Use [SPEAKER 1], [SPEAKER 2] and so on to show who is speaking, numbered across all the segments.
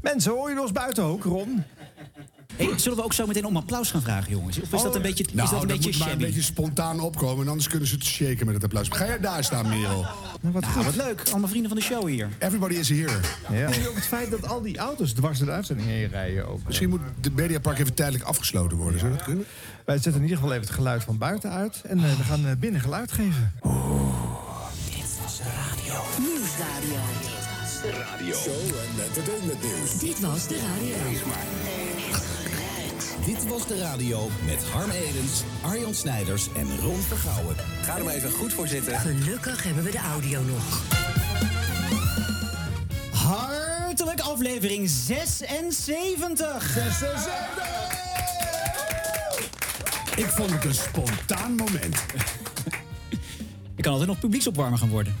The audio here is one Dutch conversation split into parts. [SPEAKER 1] Mensen, hoor je ons buiten ook, Ron?
[SPEAKER 2] Hey, zullen we ook zo meteen om applaus gaan vragen, jongens? Of is
[SPEAKER 1] Oh,
[SPEAKER 2] dat een beetje,
[SPEAKER 3] Nou,
[SPEAKER 2] is dat een beetje
[SPEAKER 3] moet maar een
[SPEAKER 2] shabby?
[SPEAKER 3] beetje spontaan opkomen. En anders kunnen ze het shaken met het applaus. Ga jij daar staan, Merel?
[SPEAKER 1] Nou, wat
[SPEAKER 2] Ah,
[SPEAKER 1] goed.
[SPEAKER 2] wat leuk. Allemaal vrienden van de show hier.
[SPEAKER 3] Everybody is here.
[SPEAKER 1] Ja. En ook het feit dat al die auto's dwars door de uitzending heen rijden ook.
[SPEAKER 3] Misschien moet de Mediapark even tijdelijk afgesloten worden. Zou dat kunnen?
[SPEAKER 1] Wij zetten in ieder geval even het geluid van buiten uit. En eh, we gaan eh, binnen geluid geven.
[SPEAKER 3] Oh.
[SPEAKER 4] Nieuwsradio.
[SPEAKER 5] Radio.
[SPEAKER 6] eh,
[SPEAKER 4] Dit was de radio.
[SPEAKER 6] Dit was de radio met Harm Edens, Arjan Snijders en Ron Vergouwen. Ga er maar even goed voor zitten.
[SPEAKER 4] Gelukkig hebben we de audio nog.
[SPEAKER 2] Hartelijk aflevering 76.
[SPEAKER 3] Ik vond het een spontaan moment.
[SPEAKER 2] Ik kan altijd nog publieksopwarmer gaan worden.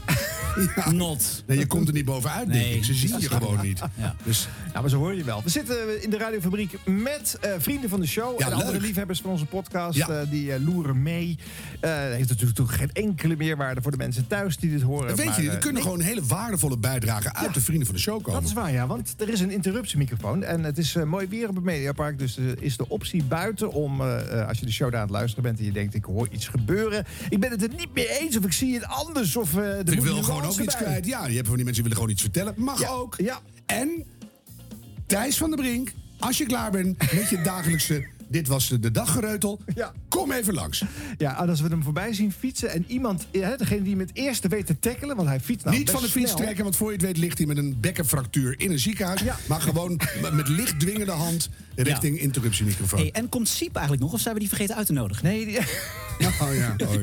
[SPEAKER 2] Not.
[SPEAKER 3] Nee, je komt er niet bovenuit, denk
[SPEAKER 2] Nee.
[SPEAKER 3] ik. Ze zien je gewoon niet.
[SPEAKER 2] Ja.
[SPEAKER 3] Dus
[SPEAKER 1] Nou, maar zo hoor je wel. We zitten in de radiofabriek met eh, vrienden van de show.
[SPEAKER 3] Ja,
[SPEAKER 1] en andere
[SPEAKER 3] leuk.
[SPEAKER 1] liefhebbers van onze podcast.
[SPEAKER 3] Ja.
[SPEAKER 1] eh, die eh, loeren mee. Eh, heeft natuurlijk toch geen enkele meerwaarde voor de mensen thuis die dit horen.
[SPEAKER 3] weet
[SPEAKER 1] maar,
[SPEAKER 3] je, er
[SPEAKER 1] eh,
[SPEAKER 3] kunnen gewoon hele waardevolle bijdragen uit de vrienden van de show komen.
[SPEAKER 1] Dat is waar, ja, want er is een interruptiemicrofoon. En het is eh, mooi weer op het Mediapark. Dus er is de optie buiten om, eh, eh, als je de show daar aan het luisteren bent... en je denkt, ik hoor iets gebeuren. Ik ben het er niet mee eens of ik zie het anders. Of, eh
[SPEAKER 3] Ik
[SPEAKER 1] er moet
[SPEAKER 3] wil
[SPEAKER 1] nuance
[SPEAKER 3] gewoon ook iets
[SPEAKER 1] bij.
[SPEAKER 3] kwijt. Ja, je hebt van die mensen die willen gewoon iets vertellen. Mag
[SPEAKER 1] Ja,
[SPEAKER 3] ook.
[SPEAKER 1] ja.
[SPEAKER 3] En Thijs van der Brink, als je klaar bent met je dagelijkse... Dit was de daggereutel.
[SPEAKER 1] Ja.
[SPEAKER 3] Kom even langs.
[SPEAKER 1] Ja, en als we hem voorbij zien fietsen en iemand, hè, degene die hem het eerste weet te tackelen, want hij fietst nou
[SPEAKER 3] Niet van de
[SPEAKER 1] best
[SPEAKER 3] fiets
[SPEAKER 1] snel.
[SPEAKER 3] trekken, want voor je het weet ligt hij met een bekkenfractuur in een ziekenhuis.
[SPEAKER 1] Ja.
[SPEAKER 3] Maar gewoon m- met licht dwingende hand richting interruptiemicrofoon.
[SPEAKER 2] Hey, en komt Siep eigenlijk nog? Of zijn we die vergeten uit te nodigen?
[SPEAKER 1] Nee, die-
[SPEAKER 3] Oh ja, oh ja.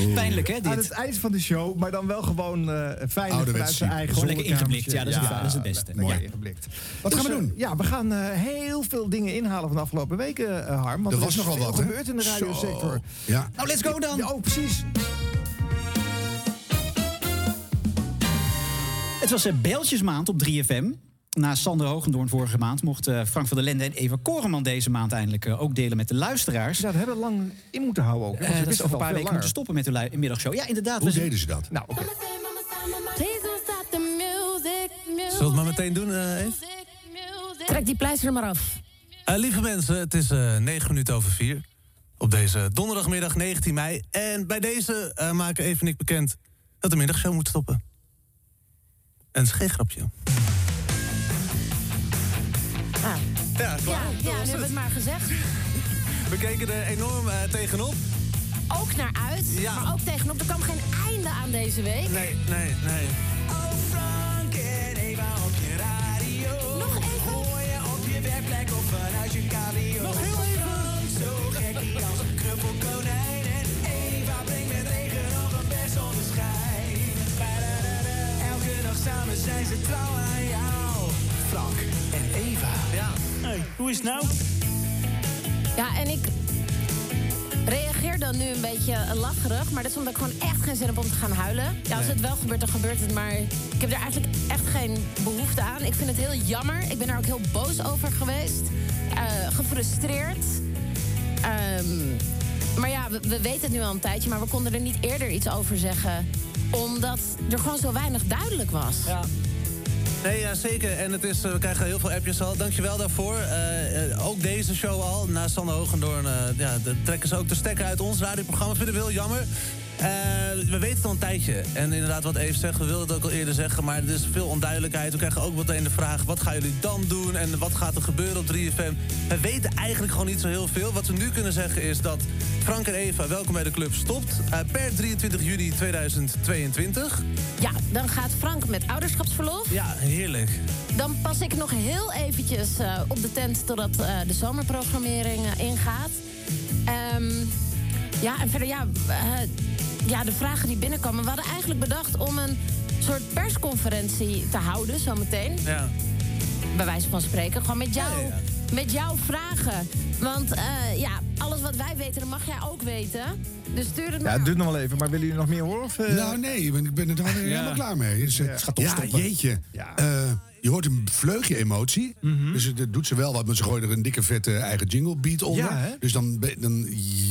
[SPEAKER 3] Oeh.
[SPEAKER 2] Pijnlijk, hè,
[SPEAKER 3] Ah,
[SPEAKER 1] aan
[SPEAKER 2] dit?
[SPEAKER 1] het eind van de show, maar dan wel gewoon eh veilig
[SPEAKER 3] Ouderwets
[SPEAKER 1] vanuit zijn
[SPEAKER 3] zien.
[SPEAKER 1] eigen
[SPEAKER 2] Gewoon lekker
[SPEAKER 1] zolderkamertje.
[SPEAKER 2] ingeblikt. Ja, dat is het- dat is het beste.
[SPEAKER 1] Mooi
[SPEAKER 2] Ja.
[SPEAKER 1] ingeblikt.
[SPEAKER 3] Wat gaan we doen?
[SPEAKER 1] ja, we gaan eh, heel veel dingen inhalen van de afgelopen weken, eh, Harm. Want
[SPEAKER 3] Er
[SPEAKER 1] er,
[SPEAKER 3] was
[SPEAKER 1] is
[SPEAKER 3] nogal
[SPEAKER 1] veel
[SPEAKER 3] wat, hè?
[SPEAKER 1] gebeurd in de
[SPEAKER 3] Zo.
[SPEAKER 1] radiosector.
[SPEAKER 3] Ja.
[SPEAKER 2] Nou, let's go dan.
[SPEAKER 1] Ja, oh, precies.
[SPEAKER 2] Het was eh, Bijltjesmaand op 3FM. Na Sander Hoogendoorn vorige maand mochten eh, Frank van der Lende en Eva Koreman deze maand eindelijk eh, ook delen met de luisteraars.
[SPEAKER 1] Ja, dat hebben we lang in moeten houden ook. hè,
[SPEAKER 2] Eh,
[SPEAKER 1] want ze
[SPEAKER 2] dat ze
[SPEAKER 1] wisten
[SPEAKER 2] over een
[SPEAKER 1] al
[SPEAKER 2] paar weken
[SPEAKER 1] veel langer.
[SPEAKER 2] moeten stoppen met hun lui- middagshow. Ja, inderdaad.
[SPEAKER 3] Hoe
[SPEAKER 2] we zijn-
[SPEAKER 3] deden ze dat?
[SPEAKER 1] Nou, oké.
[SPEAKER 7] Please don't stop the music, music.
[SPEAKER 8] Zullen we het maar meteen doen, eh, Eve?
[SPEAKER 7] music, music.
[SPEAKER 4] Trek die pleister er maar af.
[SPEAKER 8] Eh, lieve mensen, het is eh 9 minuten over 4. Op deze donderdagmiddag 19 mei. En bij deze eh, maken even en ik bekend dat de middagshow moet stoppen. En het is geen grapje.
[SPEAKER 4] Ah.
[SPEAKER 8] Ja,
[SPEAKER 4] Ja,
[SPEAKER 8] klaar.
[SPEAKER 4] ja, nu hebben we het maar gezegd.
[SPEAKER 8] We keken er enorm eh, tegenop.
[SPEAKER 4] Ook naar uit,
[SPEAKER 8] Ja.
[SPEAKER 4] maar ook tegenop. Er kwam geen einde aan deze week.
[SPEAKER 8] Nee, nee, nee.
[SPEAKER 4] Nog even.
[SPEAKER 8] Nog heel even.
[SPEAKER 9] Hoe is het nou?
[SPEAKER 7] Ja, en ik reageer dan nu een beetje lacherig. Maar dat is omdat ik gewoon echt geen zin heb om te gaan huilen. Ja, als het wel gebeurt, dan gebeurt het. Maar ik heb er eigenlijk echt geen behoefte aan. Ik vind het heel jammer. Ik ben er ook heel boos over geweest. Eh, gefrustreerd. Ehm, maar ja, we, we weten het nu al een tijdje. Maar we konden er niet eerder iets over zeggen. Omdat er gewoon zo weinig duidelijk was.
[SPEAKER 8] Nee, ja, zeker. En het is, eh, we krijgen heel veel appjes al. Dankjewel daarvoor. Eh, eh, ook deze show al. Na Sander Hoogendoorn eh, ja, de, trekken ze ook de stekker uit ons radioprogramma. Vinden we heel jammer. Eh, we weten het al een tijdje. En inderdaad, wat Eve zegt, we wilden het ook al eerder zeggen... maar er is veel onduidelijkheid. We krijgen ook meteen de vraag, wat gaan jullie dan doen? En wat gaat er gebeuren op 3FM? We weten eigenlijk gewoon niet zo heel veel. Wat we nu kunnen zeggen is dat Frank en Eva, welkom bij de club, stopt... eh, per 23 juni 2022.
[SPEAKER 7] Ja, dan gaat Frank met ouderschapsverlof.
[SPEAKER 8] Ja, heerlijk.
[SPEAKER 7] Dan pas ik nog heel eventjes eh, op de tent totdat eh, de zomerprogrammering eh, ingaat. Ehm, ja, en verder, ja, eh, ja, de vragen die binnenkomen. We hadden eigenlijk bedacht om een soort persconferentie te houden zometeen.
[SPEAKER 8] Ja.
[SPEAKER 7] Bij wijze van spreken, gewoon met jou.
[SPEAKER 8] Ja, ja,
[SPEAKER 7] Met jouw vragen. Want eh, ja, alles wat wij weten, dat mag jij ook weten. Dus stuur het
[SPEAKER 1] Ja,
[SPEAKER 7] maar.
[SPEAKER 1] het duurt nog wel even, maar willen jullie nog meer horen? Of, eh,
[SPEAKER 3] Nou nee, ik ben- ik ben er wel helemaal klaar mee. Dus, eh, ja,
[SPEAKER 2] gaat toch stoppen.
[SPEAKER 3] jeetje.
[SPEAKER 1] Ja. Mhm.
[SPEAKER 3] Eh, je hoort een vleugje emotie. Dus het, het doet ze wel wat, maar ze gooien er een dikke vette eigen jingle beat onder.
[SPEAKER 1] Ja, hè?
[SPEAKER 3] dus dan, be- dan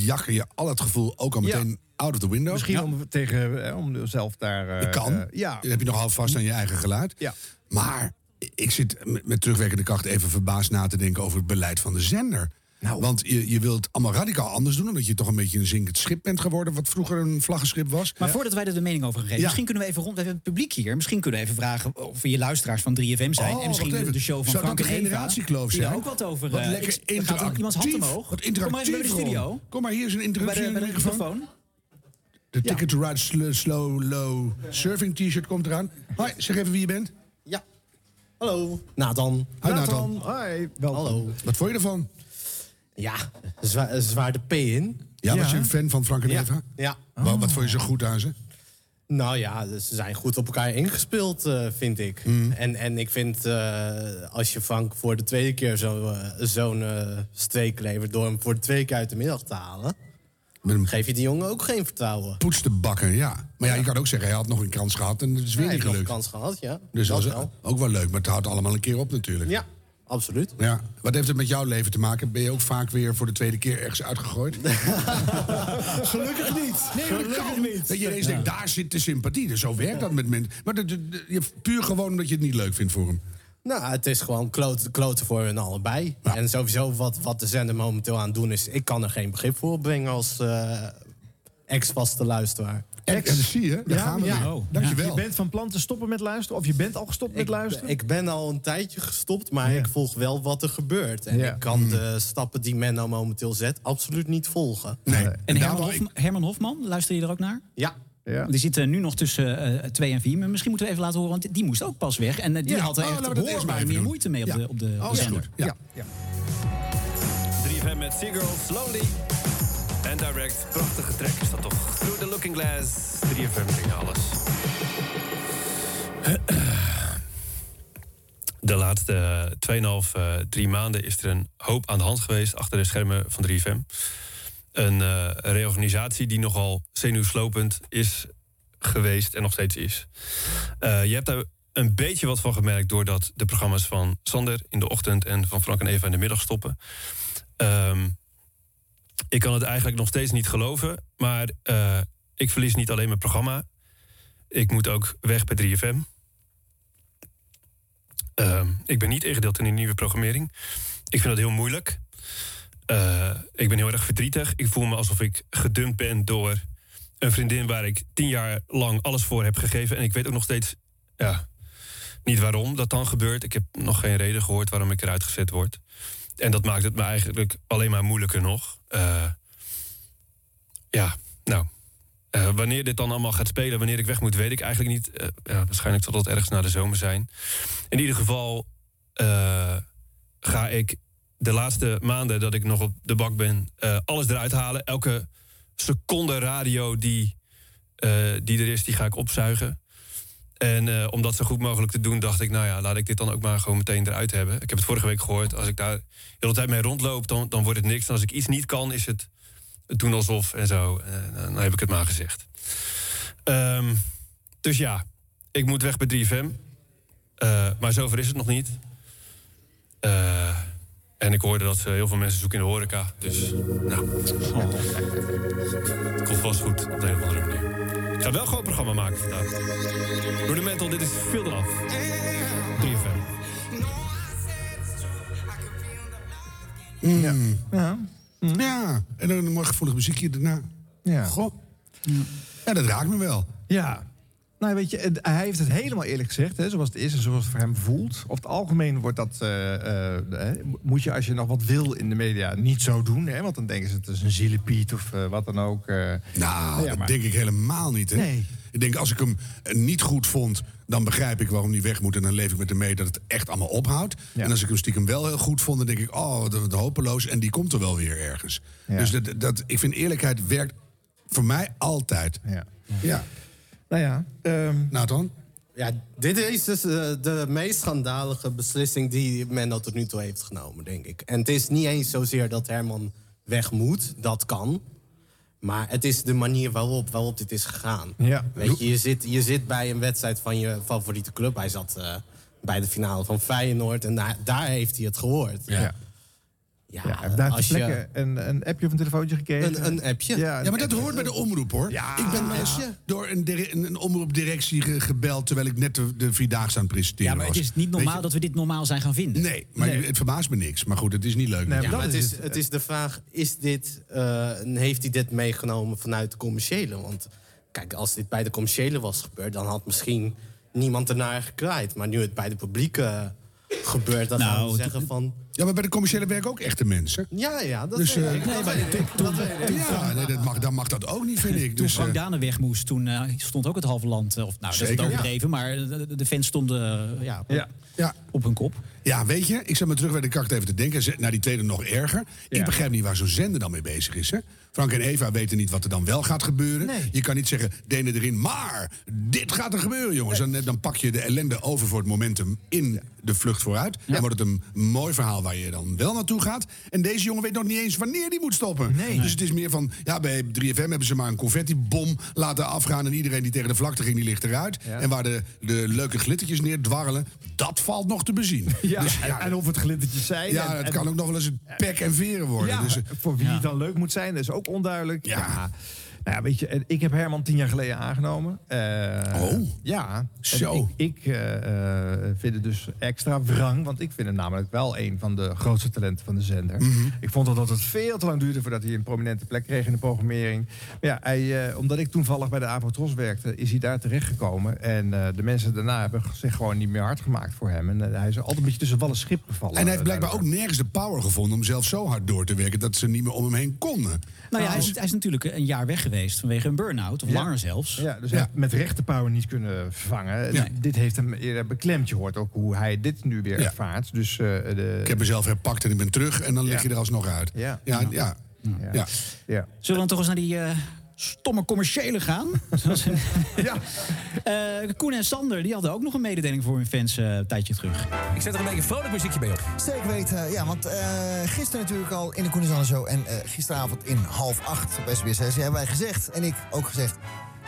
[SPEAKER 3] jakker je al het gevoel ook al
[SPEAKER 1] Ja.
[SPEAKER 3] meteen out of the
[SPEAKER 4] Nou,
[SPEAKER 3] window.
[SPEAKER 1] Misschien
[SPEAKER 3] Ja.
[SPEAKER 1] om, tegen, eh, om zelf daar... eh,
[SPEAKER 3] Dat kan.
[SPEAKER 1] eh, ja.
[SPEAKER 3] Dat heb je nog alvast aan je eigen geluid.
[SPEAKER 1] Ja.
[SPEAKER 3] Maar ik zit met, met terugwerkende kracht even verbaasd na te denken over het beleid van de zender. Want je, je wilt allemaal radicaal anders doen, omdat je toch een beetje een zinkend schip bent geworden, wat vroeger een vlaggenschip was.
[SPEAKER 2] Maar voordat wij er de mening over gaan geven,
[SPEAKER 3] Ja.
[SPEAKER 2] misschien kunnen we even rond. We hebben het publiek hier. Misschien kunnen we even vragen of je luisteraars van 3FM zijn.
[SPEAKER 3] Oh,
[SPEAKER 2] en misschien
[SPEAKER 3] wacht
[SPEAKER 2] de,
[SPEAKER 3] even.
[SPEAKER 2] de show van
[SPEAKER 3] Zou dat
[SPEAKER 2] Frank
[SPEAKER 3] een
[SPEAKER 2] en Eva,
[SPEAKER 3] generatiekloof
[SPEAKER 2] die daar
[SPEAKER 3] zijn?
[SPEAKER 2] ook wat over.
[SPEAKER 3] Wat
[SPEAKER 2] eh,
[SPEAKER 3] lekker
[SPEAKER 2] ik- er gaat iemands hand
[SPEAKER 3] interactief,
[SPEAKER 2] omhoog.
[SPEAKER 3] Wat
[SPEAKER 2] Kom maar even bij de
[SPEAKER 3] interactief
[SPEAKER 2] studio.
[SPEAKER 3] gewoon. Kom maar, hier is een
[SPEAKER 2] Bij
[SPEAKER 3] interruptie
[SPEAKER 2] de, bij de microfoon.
[SPEAKER 3] De Ticket to Ride sl- Slow Low Surfing T-shirt komt eraan. Hoi, zeg even wie je bent.
[SPEAKER 4] Ja. Hallo. Nathan.
[SPEAKER 3] Hi Nathan.
[SPEAKER 1] Hoi, welkom.
[SPEAKER 4] Hallo.
[SPEAKER 3] Wat vond je ervan?
[SPEAKER 4] Ja, zwa eh, zwaar de P in.
[SPEAKER 3] Ja, was je een fan van Frank en
[SPEAKER 4] Ja.
[SPEAKER 3] Eva?
[SPEAKER 4] ja.
[SPEAKER 3] Wa- Wat vond je zo goed aan ze?
[SPEAKER 4] Nou ja, dus ze zijn goed op elkaar ingespeeld, eh, vind ik.
[SPEAKER 3] Mm.
[SPEAKER 4] En, en ik vind, eh, als je Frank voor de tweede keer zo, eh, zo'n eh streek levert... door hem voor de tweede keer uit de middag te halen...
[SPEAKER 3] Met een
[SPEAKER 4] geef je die jongen ook geen vertrouwen.
[SPEAKER 3] poetste bakken, ja. Maar ja, je kan ook zeggen, hij had nog een kans gehad en het is weer
[SPEAKER 4] Hij
[SPEAKER 3] niet
[SPEAKER 4] heeft nog een
[SPEAKER 3] gelukt.
[SPEAKER 4] kans gehad, ja.
[SPEAKER 3] Dus dat is
[SPEAKER 4] wel.
[SPEAKER 3] ook wel leuk, maar het houdt allemaal een keer op natuurlijk.
[SPEAKER 4] Ja, absoluut.
[SPEAKER 3] Ja. Wat heeft het met jouw leven te maken? Ben je ook vaak weer voor de tweede keer ergens uitgegooid?
[SPEAKER 4] Gelukkig niet.
[SPEAKER 3] Nee, maar dat kan niet. Dat je ineens denkt, daar zit de sympathie. Dus zo werkt dat met mensen. Maar dat, dat- dat- je- puur gewoon omdat je het niet leuk vindt voor hem.
[SPEAKER 4] Nou, het is gewoon kloten kloten voor hun allebei. En sowieso wat, wat de zender momenteel aan het doen is... ik kan er geen begrip voor opbrengen als eh, ex-vaste luisteraar.
[SPEAKER 3] En, en dat zie je, daar gaan we
[SPEAKER 4] ja.
[SPEAKER 3] weer.
[SPEAKER 2] Oh.
[SPEAKER 1] Je
[SPEAKER 3] Dankjewel.
[SPEAKER 1] bent van plan te stoppen met luisteren? Of je bent al gestopt met luisteren?
[SPEAKER 4] Ik ben al een tijdje gestopt, maar ik volg wel wat er gebeurt. En
[SPEAKER 1] Ja.
[SPEAKER 4] ik kan de stappen die Menno momenteel zet absoluut niet volgen.
[SPEAKER 3] Nee.
[SPEAKER 2] En
[SPEAKER 3] daarom-
[SPEAKER 2] Herman, Hofma- Herman Hofman, luister je er ook naar?
[SPEAKER 4] Ja,
[SPEAKER 1] Ja.
[SPEAKER 2] Die zit eh, nu nog tussen eh, twee en vier. Maar misschien moeten we even laten horen, want die moest ook pas weg. En eh, die
[SPEAKER 3] Ja.
[SPEAKER 2] had er
[SPEAKER 3] Oh,
[SPEAKER 2] echt
[SPEAKER 3] laten we dat eerst
[SPEAKER 2] hoorbaar
[SPEAKER 3] maar even
[SPEAKER 2] meer
[SPEAKER 3] doen.
[SPEAKER 2] moeite mee op
[SPEAKER 3] Ja.
[SPEAKER 2] de, op de, op de
[SPEAKER 3] Oh, is
[SPEAKER 2] zender.
[SPEAKER 3] goed. Ja.
[SPEAKER 9] 3FM met Seagirls, Lonely. En Direct, prachtige track is dat toch. Through the Looking Glass, 3FM brengt alles. De laatste eh, 2,5, eh, drie maanden is er een hoop aan de hand geweest achter de schermen van 3FM. Een eh, reorganisatie die nogal zenuwslopend is geweest en nog steeds is. Eh, je hebt daar een beetje wat van gemerkt doordat de programma's van Sander in de ochtend en van Frank en Eva in de middag stoppen. Ehm, ik kan het eigenlijk nog steeds niet geloven, maar eh, ik verlies niet alleen mijn programma. Ik moet ook weg bij 3FM. Ehm, ik ben niet ingedeeld in de nieuwe programmering. Ik vind dat heel moeilijk. Eh, ik ben heel erg verdrietig. Ik voel me alsof ik gedumpt ben door een vriendin waar ik tien jaar lang alles voor heb gegeven. En ik weet ook nog steeds ja, niet waarom dat dan gebeurt. Ik heb nog geen reden gehoord waarom ik eruit gezet word. En dat maakt het me eigenlijk alleen maar moeilijker nog. Eh, ja, nou. eh, wanneer dit dan allemaal gaat spelen, wanneer ik weg moet, weet ik eigenlijk niet. Eh, ja, waarschijnlijk zal dat ergens na de zomer zijn. In ieder geval eh, ga ik de laatste maanden dat ik nog op de bak ben, eh, alles eruit halen. Elke seconde radio die, eh, die er is, die ga ik opzuigen. En eh, om dat zo goed mogelijk te doen, dacht ik, nou ja, laat ik dit dan ook maar gewoon meteen eruit hebben. Ik heb het vorige week gehoord, als ik daar de hele tijd mee rondloop, dan, dan wordt het niks. En als ik iets niet kan, is het doen alsof en zo. En, eh, dan heb ik het maar gezegd. Ehm, dus ja, ik moet weg bij 3FM. Eh, maar zover is het nog niet. Eh, en ik hoorde dat ze heel veel mensen zoeken in de horeca. Dus, nou. Het komt vast goed op de een of andere manier. Ik ga wel gewoon een programma maken vandaag. Door de mental, dit is veel eraf. 3FM.
[SPEAKER 3] Hmm. Ja, en dan een mooi gevoelig muziekje daarna.
[SPEAKER 1] Ja.
[SPEAKER 3] Goh. Ja, dat raakt me wel.
[SPEAKER 1] Ja. Nou, weet je, het- hij heeft het helemaal eerlijk gezegd, hè, zoals het is en zoals het voor hem voelt. Op het algemeen wordt dat, eh, eh, hè, moet je als je nog wat wil in de media niet zo doen. Hè, want dan denken ze het is een zielepiet of eh, wat dan ook. eh.
[SPEAKER 3] Nou,
[SPEAKER 1] maar-
[SPEAKER 3] dat denk ik helemaal niet. Hè?
[SPEAKER 1] Nee.
[SPEAKER 3] Ik denk, als ik hem eh, niet goed vond, dan begrijp ik waarom hij weg moet. En dan leef ik met hem mee dat het echt allemaal ophoudt.
[SPEAKER 1] Ja.
[SPEAKER 3] En als ik hem stiekem wel heel goed vond, dan denk ik, oh, wat- wat hopeloos. En die komt er wel weer ergens.
[SPEAKER 1] Ja.
[SPEAKER 3] Dus dat, dat, ik vind eerlijkheid werkt voor mij altijd.
[SPEAKER 1] ja.
[SPEAKER 3] Ja.
[SPEAKER 1] Nou ja, ehm,
[SPEAKER 3] Nathan?
[SPEAKER 4] ja dit is dus eh, de meest schandalige beslissing die Menno tot nu toe heeft genomen, denk ik. En het is niet eens zozeer dat Herman weg moet, dat kan. Maar het is de manier waarop, waarop dit is gegaan.
[SPEAKER 1] Ja.
[SPEAKER 4] Weet je, je, zit, je zit bij een wedstrijd van je favoriete club. Hij zat eh, bij de finale van Feyenoord en daar, daar heeft hij het gehoord.
[SPEAKER 1] ja. Ja, hij heeft daar ter
[SPEAKER 5] als je-
[SPEAKER 1] plekke een, een appje of een telefoontje
[SPEAKER 5] Een-
[SPEAKER 1] gekregen.
[SPEAKER 5] een appje?
[SPEAKER 1] een
[SPEAKER 3] Ja, maar dat
[SPEAKER 1] app.
[SPEAKER 3] hoort bij de omroep hoor.
[SPEAKER 1] Ja.
[SPEAKER 3] ik ben wel eens door een, dire- een, een omroepdirectie ge- gebeld terwijl ik net de, de Vierdaagse aan het presenteren
[SPEAKER 2] Ja, maar het
[SPEAKER 3] was.
[SPEAKER 2] is niet
[SPEAKER 3] Weet
[SPEAKER 2] normaal dat we dit normaal zijn gaan vinden.
[SPEAKER 3] je- Nee, maar
[SPEAKER 1] Nee.
[SPEAKER 3] het verbaast me niks. Maar goed, het is niet leuk.
[SPEAKER 1] Nee,
[SPEAKER 5] Ja,
[SPEAKER 1] dat
[SPEAKER 5] maar het
[SPEAKER 1] is
[SPEAKER 5] is,
[SPEAKER 1] het.
[SPEAKER 5] het is de vraag, is dit, eh, heeft hij dit meegenomen vanuit de commerciële? Want kijk, als dit bij de commerciële was gebeurd... dan had misschien niemand ernaar gekraaid. Maar nu het bij de publieke eh, gebeurt, dan gaan
[SPEAKER 2] Nou,
[SPEAKER 5] we zeggen van...
[SPEAKER 3] Ja, maar bij de commerciële werken ook echte mensen.
[SPEAKER 5] Ja, ja, dat
[SPEAKER 3] Dus,
[SPEAKER 5] weet
[SPEAKER 3] eh,
[SPEAKER 5] ik. Dat weet ik. Dat weet ik.
[SPEAKER 3] Ja, nee, dat mag, dan mag dat ook niet, vind ik.
[SPEAKER 2] Toen
[SPEAKER 3] Dus, eh,
[SPEAKER 2] Frank Dane weg moest, toen eh, stond ook het halve land... eh, Of, nou, dat
[SPEAKER 3] Zeker.
[SPEAKER 2] is het overdreven, maar de, de fans stonden eh, ja, op,
[SPEAKER 1] Ja.
[SPEAKER 3] ja.
[SPEAKER 2] op hun kop.
[SPEAKER 3] ja, weet je, ik zat me terug bij de kacht even te denken. Ze- Naar die tweede nog erger.
[SPEAKER 1] Ja.
[SPEAKER 3] Ik begrijp niet waar zo'n zender dan mee bezig is. Hè? Frank en Eva weten niet wat er dan wel gaat gebeuren. Je kan niet zeggen, denen erin, maar dit gaat er gebeuren, jongens. Dan, dan pak je de ellende over voor het momentum in de vlucht vooruit. Dan wordt het een mooi verhaal waar je dan wel naartoe gaat. En deze jongen weet nog niet eens wanneer die moet stoppen. Dus het is meer van, ja, bij 3FM hebben ze maar een confettibom laten afgaan... en iedereen die tegen de vlakte ging, die ligt eruit. En waar de, de leuke glittertjes neerdwarrelen, dat valt nog te bezien.
[SPEAKER 1] Ja,
[SPEAKER 3] Dus ja,
[SPEAKER 1] en, en of het glittertjes zijn.
[SPEAKER 3] ja,
[SPEAKER 1] en-
[SPEAKER 3] het
[SPEAKER 1] en-
[SPEAKER 3] kan ook nog wel eens een pek en veren worden.
[SPEAKER 1] Ja,
[SPEAKER 3] dus, eh,
[SPEAKER 1] voor wie het dan leuk moet zijn, dat is ook onduidelijk.
[SPEAKER 3] Ja.
[SPEAKER 1] Nou ja, weet je, en ik heb Herman tien jaar geleden aangenomen. Eh,
[SPEAKER 3] Oh.
[SPEAKER 1] Ja. En
[SPEAKER 3] Zo.
[SPEAKER 1] Ik, ik eh, eh, vind het dus extra wrang, want ik vind hem namelijk wel een van de grootste talenten van de zender.
[SPEAKER 3] Mhm.
[SPEAKER 1] Ik vond al dat het veel te lang duurde voordat hij een prominente plek kreeg in de programmering. Maar ja, hij, eh, omdat ik toevallig bij de Avrotros werkte, is hij daar terechtgekomen. En eh, de mensen daarna hebben zich gewoon niet meer hard gemaakt voor hem. En eh, hij is altijd een beetje tussen wal en schip gevallen.
[SPEAKER 3] en hij heeft
[SPEAKER 1] eh,
[SPEAKER 3] blijkbaar ook
[SPEAKER 1] daardoor.
[SPEAKER 3] nergens de power gevonden om zelf zo hard door te werken dat ze niet meer om hem heen konden. Dus-
[SPEAKER 2] Nou ja, hij is, hij is natuurlijk een jaar weg geweest vanwege een burn-out. Of
[SPEAKER 1] Ja.
[SPEAKER 2] langer zelfs.
[SPEAKER 1] Ja, dus
[SPEAKER 3] Ja.
[SPEAKER 1] hij heeft met rechte power niet kunnen vervangen.
[SPEAKER 3] Ja.
[SPEAKER 1] D- Dit heeft hem eerder beklemd. Je hoort ook hoe hij dit nu weer
[SPEAKER 3] Ja.
[SPEAKER 1] ervaart. Dus eh, de...
[SPEAKER 3] Ik heb mezelf herpakt en ik ben terug en dan lig
[SPEAKER 1] Ja.
[SPEAKER 3] je er alsnog uit.
[SPEAKER 1] Ja.
[SPEAKER 3] ja, ja.
[SPEAKER 1] Ja.
[SPEAKER 3] ja.
[SPEAKER 1] ja.
[SPEAKER 2] Zullen we dan toch eens naar die eh, stomme commerciële gaan? Zoals-
[SPEAKER 1] ja.
[SPEAKER 2] Eh, Koen en Sander die hadden ook nog een mededeling voor hun fans eh, een tijdje terug.
[SPEAKER 6] Ik zet er een beetje vrolijk muziekje bij op.
[SPEAKER 10] Zeker weten, ja, want eh, gisteren natuurlijk al in de Koen en Sander Show... en eh, gisteravond in half acht op SBS 6 hebben wij gezegd, en ik ook gezegd...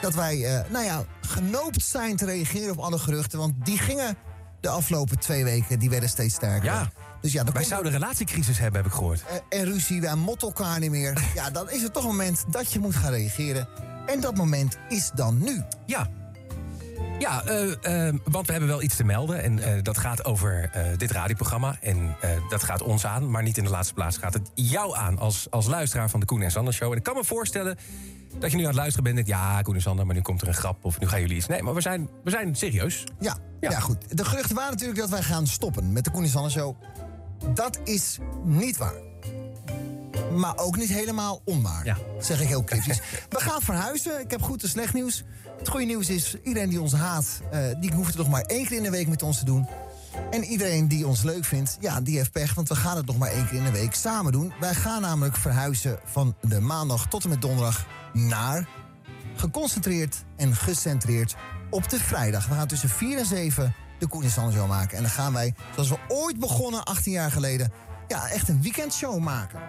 [SPEAKER 10] dat wij, eh, nou ja, genoopt zijn te reageren op alle geruchten... want die gingen de afgelopen twee weken, die werden steeds sterker.
[SPEAKER 6] Ja.
[SPEAKER 10] Dus ja, dan
[SPEAKER 6] Wij
[SPEAKER 10] komt
[SPEAKER 6] zouden een relatiecrisis hebben, heb ik gehoord.
[SPEAKER 10] eh, en ruzie, wij motten elkaar niet meer. Ja, dan is het toch een moment dat je moet gaan reageren. En dat moment is dan nu.
[SPEAKER 6] Ja. Ja, eh, eh, want we hebben wel iets te melden. En eh, dat gaat over eh, dit radioprogramma. En eh, dat gaat ons aan, maar niet in de laatste plaats gaat het jou aan als, als luisteraar van de Koen en Sander Show. En ik kan me voorstellen dat je nu aan het luisteren bent en denkt: ja, Koen en Sander, maar nu komt er een grap of nu gaan jullie iets. Nee, maar we zijn, we zijn serieus.
[SPEAKER 10] Ja,
[SPEAKER 6] Ja.
[SPEAKER 10] ja. goed. De geruchten waren natuurlijk dat wij gaan stoppen met de Koen en Sander Show. Dat is niet waar. Maar ook niet helemaal onwaar.
[SPEAKER 6] Ja.
[SPEAKER 10] Zeg ik heel kritisch. We gaan verhuizen. Ik heb goed en slecht nieuws. Het goede nieuws is, iedereen die ons haat... eh, die hoeft het nog maar één keer in de week met ons te doen. En iedereen die ons leuk vindt, ja, die heeft pech... want we gaan het nog maar één keer in de week samen doen. Wij gaan namelijk verhuizen van de maandag tot en met donderdag... naar geconcentreerd en gecentreerd op de vrijdag. We gaan tussen 4 en 7 de Koen en Sander Show maken. En dan gaan wij, zoals we ooit begonnen, 18 jaar geleden... ja, echt een weekendshow maken.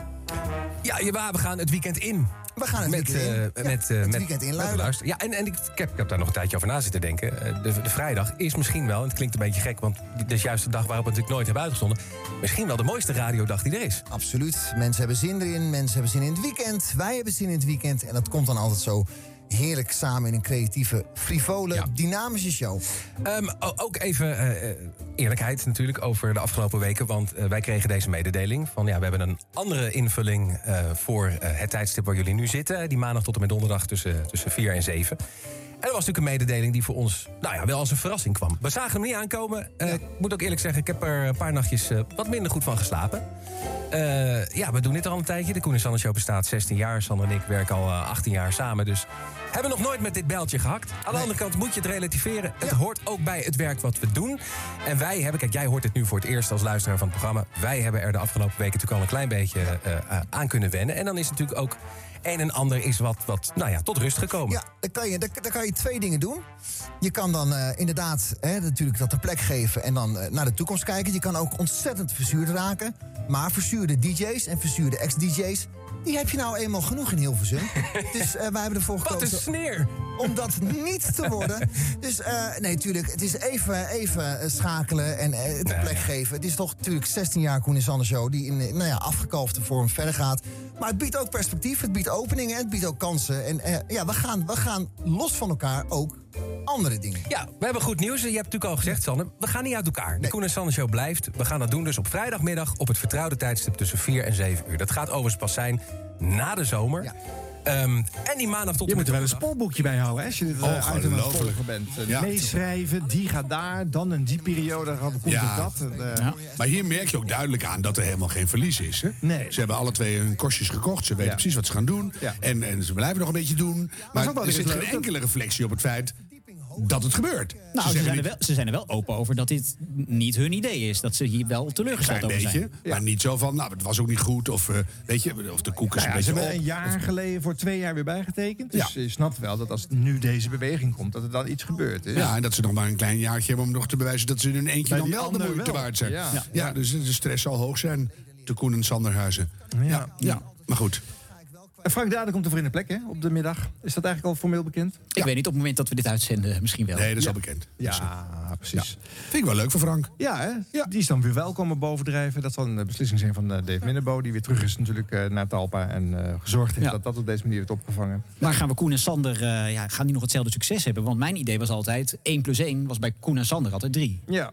[SPEAKER 6] Ja, ja we gaan het weekend in.
[SPEAKER 10] We gaan het
[SPEAKER 6] met,
[SPEAKER 10] weekend in.
[SPEAKER 6] eh,
[SPEAKER 10] Ja,
[SPEAKER 6] met, eh,
[SPEAKER 10] het
[SPEAKER 6] met-
[SPEAKER 10] weekend in
[SPEAKER 6] met
[SPEAKER 10] Luiden.
[SPEAKER 6] luisteren. Ja, en, en ik, ik heb, ik heb daar nog een tijdje over na zitten denken. Eh, De, de vrijdag is misschien wel, en het klinkt een beetje gek... want dit is juist de dag waarop we het natuurlijk nooit hebben uitgezonden... misschien wel de mooiste radiodag die er is.
[SPEAKER 10] Absoluut. Mensen hebben zin erin, mensen hebben zin in het weekend. Wij hebben zin in het weekend. En dat komt dan altijd zo heerlijk samen in een creatieve, frivole,
[SPEAKER 6] Ja.
[SPEAKER 10] dynamische show.
[SPEAKER 6] Ehm, o- ook even eh, eh, eerlijkheid natuurlijk over de afgelopen weken... want eh, wij kregen deze mededeling van... ja, we hebben een andere invulling eh, voor eh, het tijdstip waar jullie nu zitten... die maandag tot en met donderdag tussen, tussen 4 en 7... En dat was natuurlijk een mededeling die voor ons nou ja, wel als een verrassing kwam. We zagen hem niet aankomen. Eh, Ik moet ook eerlijk zeggen, ik heb er een paar nachtjes eh, wat minder goed van geslapen. Eh, ja, we doen dit al een tijdje. De Koen en Sander Show bestaat 16 jaar. Sander en ik werken al eh, 18 jaar samen. Dus hebben nog nooit met dit bijltje gehakt. Aan de andere kant moet je het relativeren. Het hoort ook bij het werk wat we doen. En wij hebben, kijk, jij hoort dit nu voor het eerst als luisteraar van het programma. Wij hebben er de afgelopen weken natuurlijk al een klein beetje eh, eh, aan kunnen wennen. En dan is natuurlijk ook een en ander is wat, wat nou ja, tot rust gekomen.
[SPEAKER 10] Ja, dan kan je, dan, dan kan je twee dingen doen. Je kan dan eh, inderdaad hè, natuurlijk dat een plek geven en dan eh, naar de toekomst kijken. Je kan ook ontzettend verzuurd raken. Maar verzuurde DJ's en verzuurde ex-DJ's, die heb je nou eenmaal genoeg in Hilversum. dus eh, wij hebben ervoor
[SPEAKER 6] Wat een
[SPEAKER 10] gekozen
[SPEAKER 6] sneer!
[SPEAKER 10] om dat niet te worden. Dus eh, nee, tuurlijk, het is even, even eh, schakelen en eh, het een plek geven. Het is toch natuurlijk 16 jaar Koen en Sander Show... die in eh, nou ja, afgekalfde vorm verder gaat. Maar het biedt ook perspectief, het biedt openingen... het biedt ook kansen. En eh, ja, we gaan, we gaan los van elkaar ook andere dingen.
[SPEAKER 6] Ja, we hebben goed nieuws. Je hebt natuurlijk al gezegd, Sanne. We gaan niet uit elkaar. De Koen en Sanne Show blijft. We gaan dat doen dus op vrijdagmiddag op het vertrouwde tijdstip tussen 4 en 7 uur. Dat gaat overigens pas zijn na de zomer. Ehm, en die maandag tot
[SPEAKER 1] Je
[SPEAKER 6] en
[SPEAKER 1] moet
[SPEAKER 6] met
[SPEAKER 1] er wel een
[SPEAKER 6] donderdag.
[SPEAKER 1] spoorboekje bij houden hè, als je dit eh, item aan het
[SPEAKER 3] Ongelooflijk.
[SPEAKER 1] volgen bent. Eh,
[SPEAKER 3] Ja.
[SPEAKER 1] Meeschrijven, die gaat daar, dan in die periode gaat komt
[SPEAKER 3] Ja.
[SPEAKER 1] er dat. eh,
[SPEAKER 3] Maar hier merk je ook duidelijk aan dat er helemaal geen verlies is. Hè?
[SPEAKER 1] Nee.
[SPEAKER 3] Ze hebben alle twee hun kostjes gekocht. Ze weten
[SPEAKER 1] Ja.
[SPEAKER 3] precies wat ze gaan doen.
[SPEAKER 1] Ja.
[SPEAKER 3] En, en ze blijven nog een beetje doen. Maar
[SPEAKER 1] ook wel
[SPEAKER 3] er
[SPEAKER 1] weer
[SPEAKER 3] zit
[SPEAKER 1] leuk
[SPEAKER 3] geen
[SPEAKER 1] dat-
[SPEAKER 3] enkele reflectie op het feit dat het gebeurt.
[SPEAKER 2] Nou, ze,
[SPEAKER 3] zeggen
[SPEAKER 2] zijn er
[SPEAKER 3] niet-
[SPEAKER 2] wel, ze zijn er wel open over dat dit niet hun idee is. Dat ze hier wel teleurgesteld
[SPEAKER 3] Klein
[SPEAKER 2] over
[SPEAKER 3] beetje,
[SPEAKER 2] zijn.
[SPEAKER 3] maar niet zo van, nou, het was ook niet goed. Of, eh, weet je, of de koek is
[SPEAKER 1] Nou ja,
[SPEAKER 3] een
[SPEAKER 1] ze
[SPEAKER 3] beetje op.
[SPEAKER 1] hebben een jaar geleden voor twee jaar weer bijgetekend. Dus je snapt wel dat als nu deze beweging komt, dat er dan iets gebeurt. is.
[SPEAKER 3] Ja, en dat ze nog maar een klein jaartje hebben om nog te bewijzen... dat ze in hun eentje
[SPEAKER 1] Bij
[SPEAKER 3] dan
[SPEAKER 1] die
[SPEAKER 3] wel de
[SPEAKER 1] ander
[SPEAKER 3] moeite
[SPEAKER 1] wel.
[SPEAKER 3] waard zijn.
[SPEAKER 1] Ja.
[SPEAKER 3] Ja, dus de stress zal hoog zijn. De Koen en Sanderhuizen. Ja. Ja, maar goed.
[SPEAKER 1] En Frank Daden komt er voor in de plek, hè, op de middag. Is dat eigenlijk al formeel bekend?
[SPEAKER 2] Ik weet niet, op het moment dat we dit uitzenden misschien wel.
[SPEAKER 3] Nee, dat is al bekend.
[SPEAKER 1] Ja, precies.
[SPEAKER 3] Dus, eh, Vind ik wel leuk voor Frank.
[SPEAKER 1] Ja, hè? die is dan weer wel komen bovendrijven. Dat zal een beslissing zijn van eh, Dave Minnebo, die weer terug is natuurlijk eh, naar Talpa. En eh, gezorgd heeft
[SPEAKER 2] Ja.
[SPEAKER 1] dat dat op deze manier wordt opgevangen.
[SPEAKER 2] Maar gaan we Koen en Sander, eh, ja, gaan die nog hetzelfde succes hebben? Want mijn idee was altijd, 1 plus 1 was bij Koen en Sander altijd 3.
[SPEAKER 1] Ja.